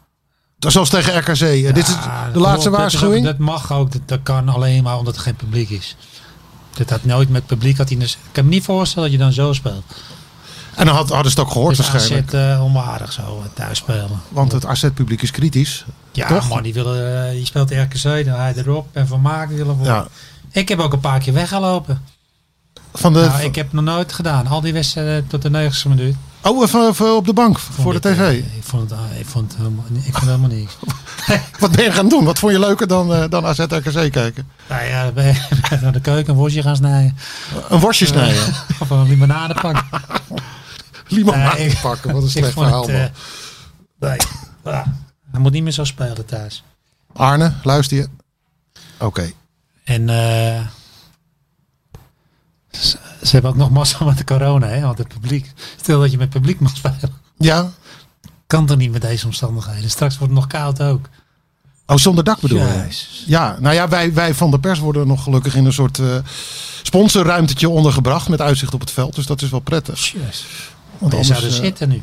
Speaker 7: Zoals tegen RKC. Eh, dit is
Speaker 8: Ah,
Speaker 7: de laatste
Speaker 8: kom op, dat is ook-
Speaker 7: waarschuwing.
Speaker 8: Dat, mag ook, dat, dat kan alleen maar omdat er geen publiek is. Dat had nooit met publiek. Had hij dus, ik kan me niet voorstellen dat je dan zo speelt.
Speaker 7: En dan had, hadden ze het ook gehoord
Speaker 8: Dus AZ
Speaker 7: waarschijnlijk.
Speaker 8: eh, onwaardig zo eh, thuis spelen.
Speaker 7: Want het AZ-publiek is kritisch.
Speaker 8: Ja,
Speaker 7: Toch?
Speaker 8: man, die, willen, eh, die speelt RKC, dan hij erop en Van Maak willen worden.
Speaker 7: Ja.
Speaker 8: Ik heb ook een paar keer weggelopen.
Speaker 7: Van de,
Speaker 8: Nou, ik heb het nog nooit gedaan. Al die wedstrijden tot de 90ste minuut.
Speaker 7: Oh, even, even op de bank voor de
Speaker 8: Vond ik, eh,
Speaker 7: tv.
Speaker 8: Ik vond het, ah, ik vond het helemaal, ik vond het helemaal
Speaker 7: [LAUGHS]
Speaker 8: niks.
Speaker 7: Wat ben je gaan doen? Wat vond je leuker dan, eh, dan AZ-RKC kijken?
Speaker 8: Nou ja, dan ben je [LAUGHS] ben je naar de keuken een worstje gaan snijden.
Speaker 7: Een worstje snijden. [LAUGHS]
Speaker 8: Of een limonade pakken.
Speaker 7: Limonade
Speaker 8: Nee, ik-
Speaker 7: pakken, wat een
Speaker 8: [LAUGHS] Ik
Speaker 7: slecht
Speaker 8: vond
Speaker 7: verhaal.
Speaker 8: het,
Speaker 7: man.
Speaker 8: eh, nee. Ah, Hij moet niet meer zo spelen thuis.
Speaker 7: Arne, luister je? Oké.
Speaker 8: En eh, ze, ze hebben ook nog massa met de corona, hè? Want het publiek. Stel dat je met publiek mag spelen.
Speaker 7: Ja?
Speaker 8: Kan toch niet met deze omstandigheden? Straks wordt het nog koud ook.
Speaker 7: Oh, zonder dak bedoel je?
Speaker 8: Jezus.
Speaker 7: Ja, nou ja, wij, wij van de pers worden nog gelukkig in een soort eh, sponsorruimtetje ondergebracht met uitzicht op het veld. Dus dat is wel prettig.
Speaker 8: Jezus.
Speaker 7: Want
Speaker 8: Je zou er
Speaker 7: eh,
Speaker 8: zitten nu.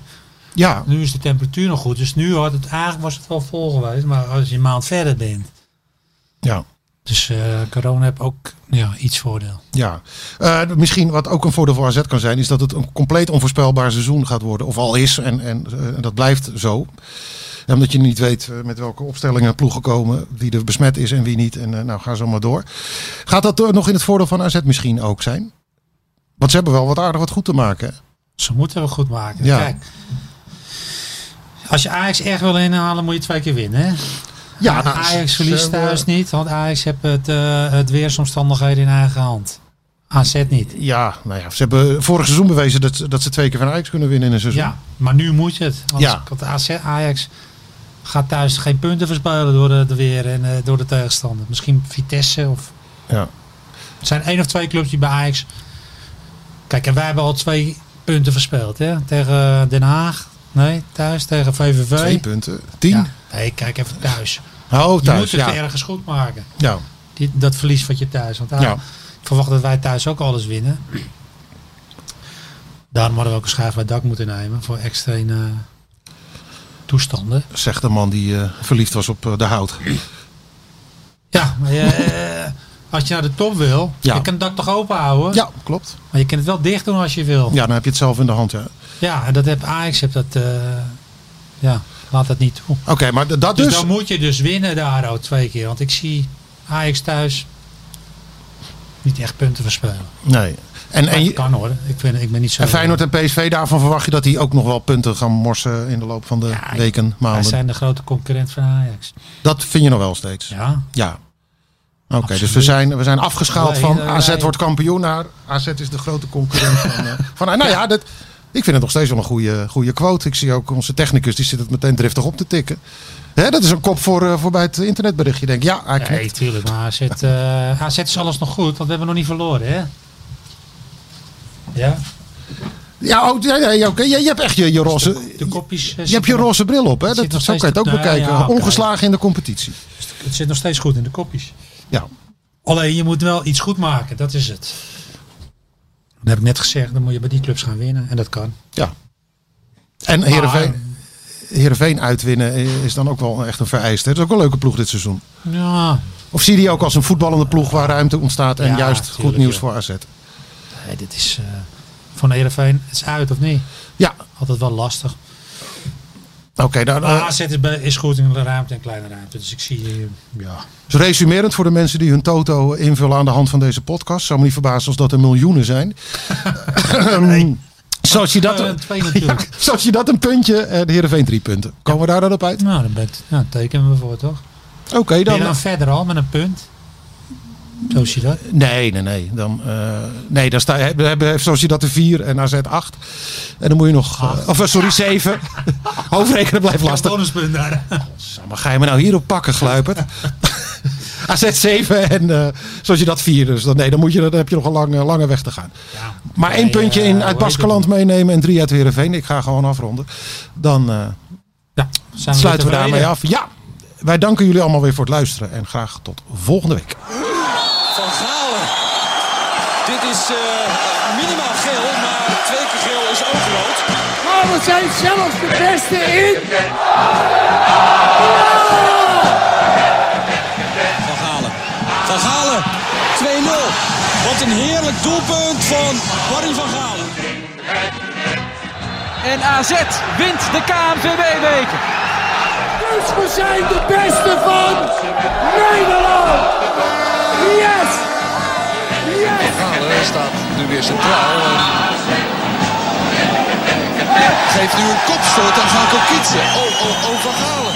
Speaker 7: ja,
Speaker 8: Nu is de temperatuur nog goed. Dus nu had het eigenlijk was het wel vol geweest. Maar als je een maand verder bent.
Speaker 7: ja,
Speaker 8: Dus eh, corona heeft ook ja, iets voordeel.
Speaker 7: ja. Eh, misschien wat ook een voordeel voor AZ kan zijn, is dat het een compleet onvoorspelbaar seizoen gaat worden. Of al is, en, en, eh, en dat blijft zo. Ja, omdat je niet weet eh, met welke opstellingen ploegen komen, wie er besmet is en wie niet. En eh, nou, ga zo maar door. Gaat dat eh, nog in het voordeel van AZ misschien ook zijn? Want ze hebben wel wat aardig wat goed te maken. hè?
Speaker 8: Ze moeten we goed maken.
Speaker 7: Ja.
Speaker 8: Kijk, als je Ajax echt wil inhalen, moet je twee keer winnen. Hè?
Speaker 7: Ja, nou,
Speaker 8: Ajax
Speaker 7: ze-
Speaker 8: verliest
Speaker 7: ze-
Speaker 8: thuis niet, want Ajax heeft het, eh, het weersomstandigheden in eigen hand. AZ niet.
Speaker 7: Ja, nou ja, ze hebben vorig seizoen bewezen dat, dat ze twee keer van Ajax kunnen winnen in een seizoen.
Speaker 8: Ja, maar nu moet je het. Want
Speaker 7: Ja.
Speaker 8: want AZ, Ajax gaat thuis geen punten verspelen door de, de weer en eh, door de tegenstander. Misschien Vitesse of...
Speaker 7: Ja.
Speaker 8: Het zijn één of twee clubs die bij Ajax... Kijk, en wij hebben al twee punten verspeeld. Hè? Tegen eh, Den Haag. Nee, thuis. Tegen VVV.
Speaker 7: Twee punten. Tien?
Speaker 8: Ja. Nee, kijk even thuis.
Speaker 7: Oh,
Speaker 8: Je
Speaker 7: thuis.
Speaker 8: moet het
Speaker 7: Ja.
Speaker 8: ergens goed maken.
Speaker 7: Ja.
Speaker 8: Die, dat verlies wat je thuis. Want ah,
Speaker 7: Ja.
Speaker 8: ik verwacht dat wij thuis ook alles winnen. Daarom hadden we ook een schuif bij het dak moeten nemen. Voor extreme eh, toestanden.
Speaker 7: Zegt de man die eh, verliefd was op eh, de hout.
Speaker 8: Ja, maar je, als je naar de top wil.
Speaker 7: Ja.
Speaker 8: Je kan het dak toch open houden.
Speaker 7: Ja, klopt.
Speaker 8: Maar je kan het wel dicht doen als je wil.
Speaker 7: Ja, dan heb je het zelf in de hand. Ja.
Speaker 8: Ja, en dat heb Ajax heb dat. eh, ja, laat dat niet toe.
Speaker 7: Oké, maar d- dat
Speaker 8: Dus,
Speaker 7: dus.
Speaker 8: dan moet je dus winnen daar ook twee keer. Want ik zie Ajax thuis niet echt punten verspelen.
Speaker 7: Nee. En,
Speaker 8: En
Speaker 7: en, je-
Speaker 8: kan hoor. Ik ben, ik ben niet zo.
Speaker 7: en Feyenoord en PSV, daarvan verwacht je dat die ook nog wel punten gaan morsen in de loop van de
Speaker 8: Ja,
Speaker 7: weken,
Speaker 8: Wij
Speaker 7: maanden.
Speaker 8: zijn de grote concurrent van Ajax.
Speaker 7: Dat vind je nog wel steeds. Ja.
Speaker 8: Ja.
Speaker 7: Oké, dus we
Speaker 8: Absoluut.
Speaker 7: zijn, we zijn afgeschaald
Speaker 8: Wij-
Speaker 7: van
Speaker 8: wij-
Speaker 7: AZ wordt kampioen naar AZ is de grote concurrent van,
Speaker 8: [LAUGHS]
Speaker 7: eh, van Nou ja, dat, ik vind het nog steeds wel een goede, goede quote. Ik zie ook onze technicus, die zit het meteen driftig op te tikken. Hè, dat is een kop voor, eh, voor bij het internetberichtje. Denk, ja, hij knikt.
Speaker 8: Nee, tuurlijk. Maar AZ, eh, AZ is alles nog goed, want we hebben nog niet verloren, hè? Ja.
Speaker 7: Ja, oh, ja, ja, ja, oké. Je, je hebt echt je, je roze...
Speaker 8: De kopjes. eh,
Speaker 7: Je hebt
Speaker 8: zitten
Speaker 7: je
Speaker 8: nog-
Speaker 7: roze bril op, hè?
Speaker 8: zit
Speaker 7: Dat,
Speaker 8: nog
Speaker 7: zo kan je
Speaker 8: steeds
Speaker 7: het ook
Speaker 8: op- nou,
Speaker 7: bekijken.
Speaker 8: ja, oké.
Speaker 7: Ongeslagen in de competitie.
Speaker 8: Het zit nog steeds goed in de kopjes.
Speaker 7: Ja.
Speaker 8: Alleen je moet wel iets goed maken, dat is het. Dat heb ik net gezegd, dan moet je bij die clubs gaan winnen. En dat kan.
Speaker 7: ja. En Heerenveen, Heerenveen uitwinnen is dan ook wel echt een vereiste. Het is ook wel een leuke ploeg dit seizoen.
Speaker 8: Ja,
Speaker 7: Of zie je die ook als een voetballende ploeg waar ruimte ontstaat en
Speaker 8: Ja,
Speaker 7: juist
Speaker 8: tuurlijk,
Speaker 7: goed nieuws
Speaker 8: ja.
Speaker 7: voor AZ?
Speaker 8: nee, dit is eh van Heerenveen. Het is uit of niet?
Speaker 7: Ja,
Speaker 8: Altijd wel lastig.
Speaker 7: Eh, oké. dan, eh,
Speaker 8: Maar AZ is, bij- is goed in de ruimte en kleine ruimte. Dus ik zie... eh,
Speaker 7: ja. Dus resumerend voor de mensen die hun toto invullen aan de hand van deze podcast. Zou me niet verbazen als dat er miljoenen
Speaker 8: [LAUGHS]
Speaker 7: zijn. Ehm, Zoals je dat...
Speaker 8: Eh, twee natuurlijk.
Speaker 7: [LAUGHS] Zoals je dat een puntje en Heerenveen drie punten. Komen we daar dan op uit?
Speaker 8: Nou, dan bent, nou, tekenen we voor, toch?
Speaker 7: Oké,
Speaker 8: Ben
Speaker 7: dan... eh,
Speaker 8: je dan verder al met een punt? Zo zie je dat.
Speaker 7: Nee, nee, nee. Dan, eh, nee, dan sta, hebben, hebben, heeft zoals je dat de 4 en AZ 8. En dan moet je nog. eh, of eh, sorry,
Speaker 8: [LAUGHS]
Speaker 7: 7. Hoofdrekenen blijft lastig.
Speaker 8: bonuspunt daar.
Speaker 7: Maar ga je me nou hierop pakken, gluipert? [LAUGHS] AZ 7 en eh, zoals je dat 4. Dus dan, nee, dan, moet je, dan heb je nog een lange, lange weg te gaan. Maar één
Speaker 8: Nee,
Speaker 7: puntje
Speaker 8: eh,
Speaker 7: in,
Speaker 8: hoe
Speaker 7: uit
Speaker 8: heet
Speaker 7: Baskeland
Speaker 8: het?
Speaker 7: meenemen en drie uit Heerenveen. Ik ga gewoon afronden. Dan eh,
Speaker 8: Ja, zijn we
Speaker 7: sluiten we
Speaker 8: tevreden?
Speaker 7: daarmee af. Ja, wij danken jullie allemaal weer voor het luisteren. En graag tot volgende week.
Speaker 1: Van Galen. Dit is eh, minimaal geel, maar twee keer geel is ook rood.
Speaker 2: Maar Oh, we zijn zelfs de beste in.
Speaker 1: Van Galen. Van Galen. 2-0. Wat een heerlijk doelpunt van Barry van Galen.
Speaker 3: En AZ wint de KNVB-beker.
Speaker 2: Dus we zijn de beste van Nederland. Yes. Yes.
Speaker 4: Galen staat nu weer centraal. Geef nu een kopstoot aan Ganko Kietse. Oh, oh, oh, Van Galen.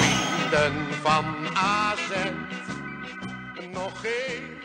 Speaker 5: Vrienden van AZ, nog even.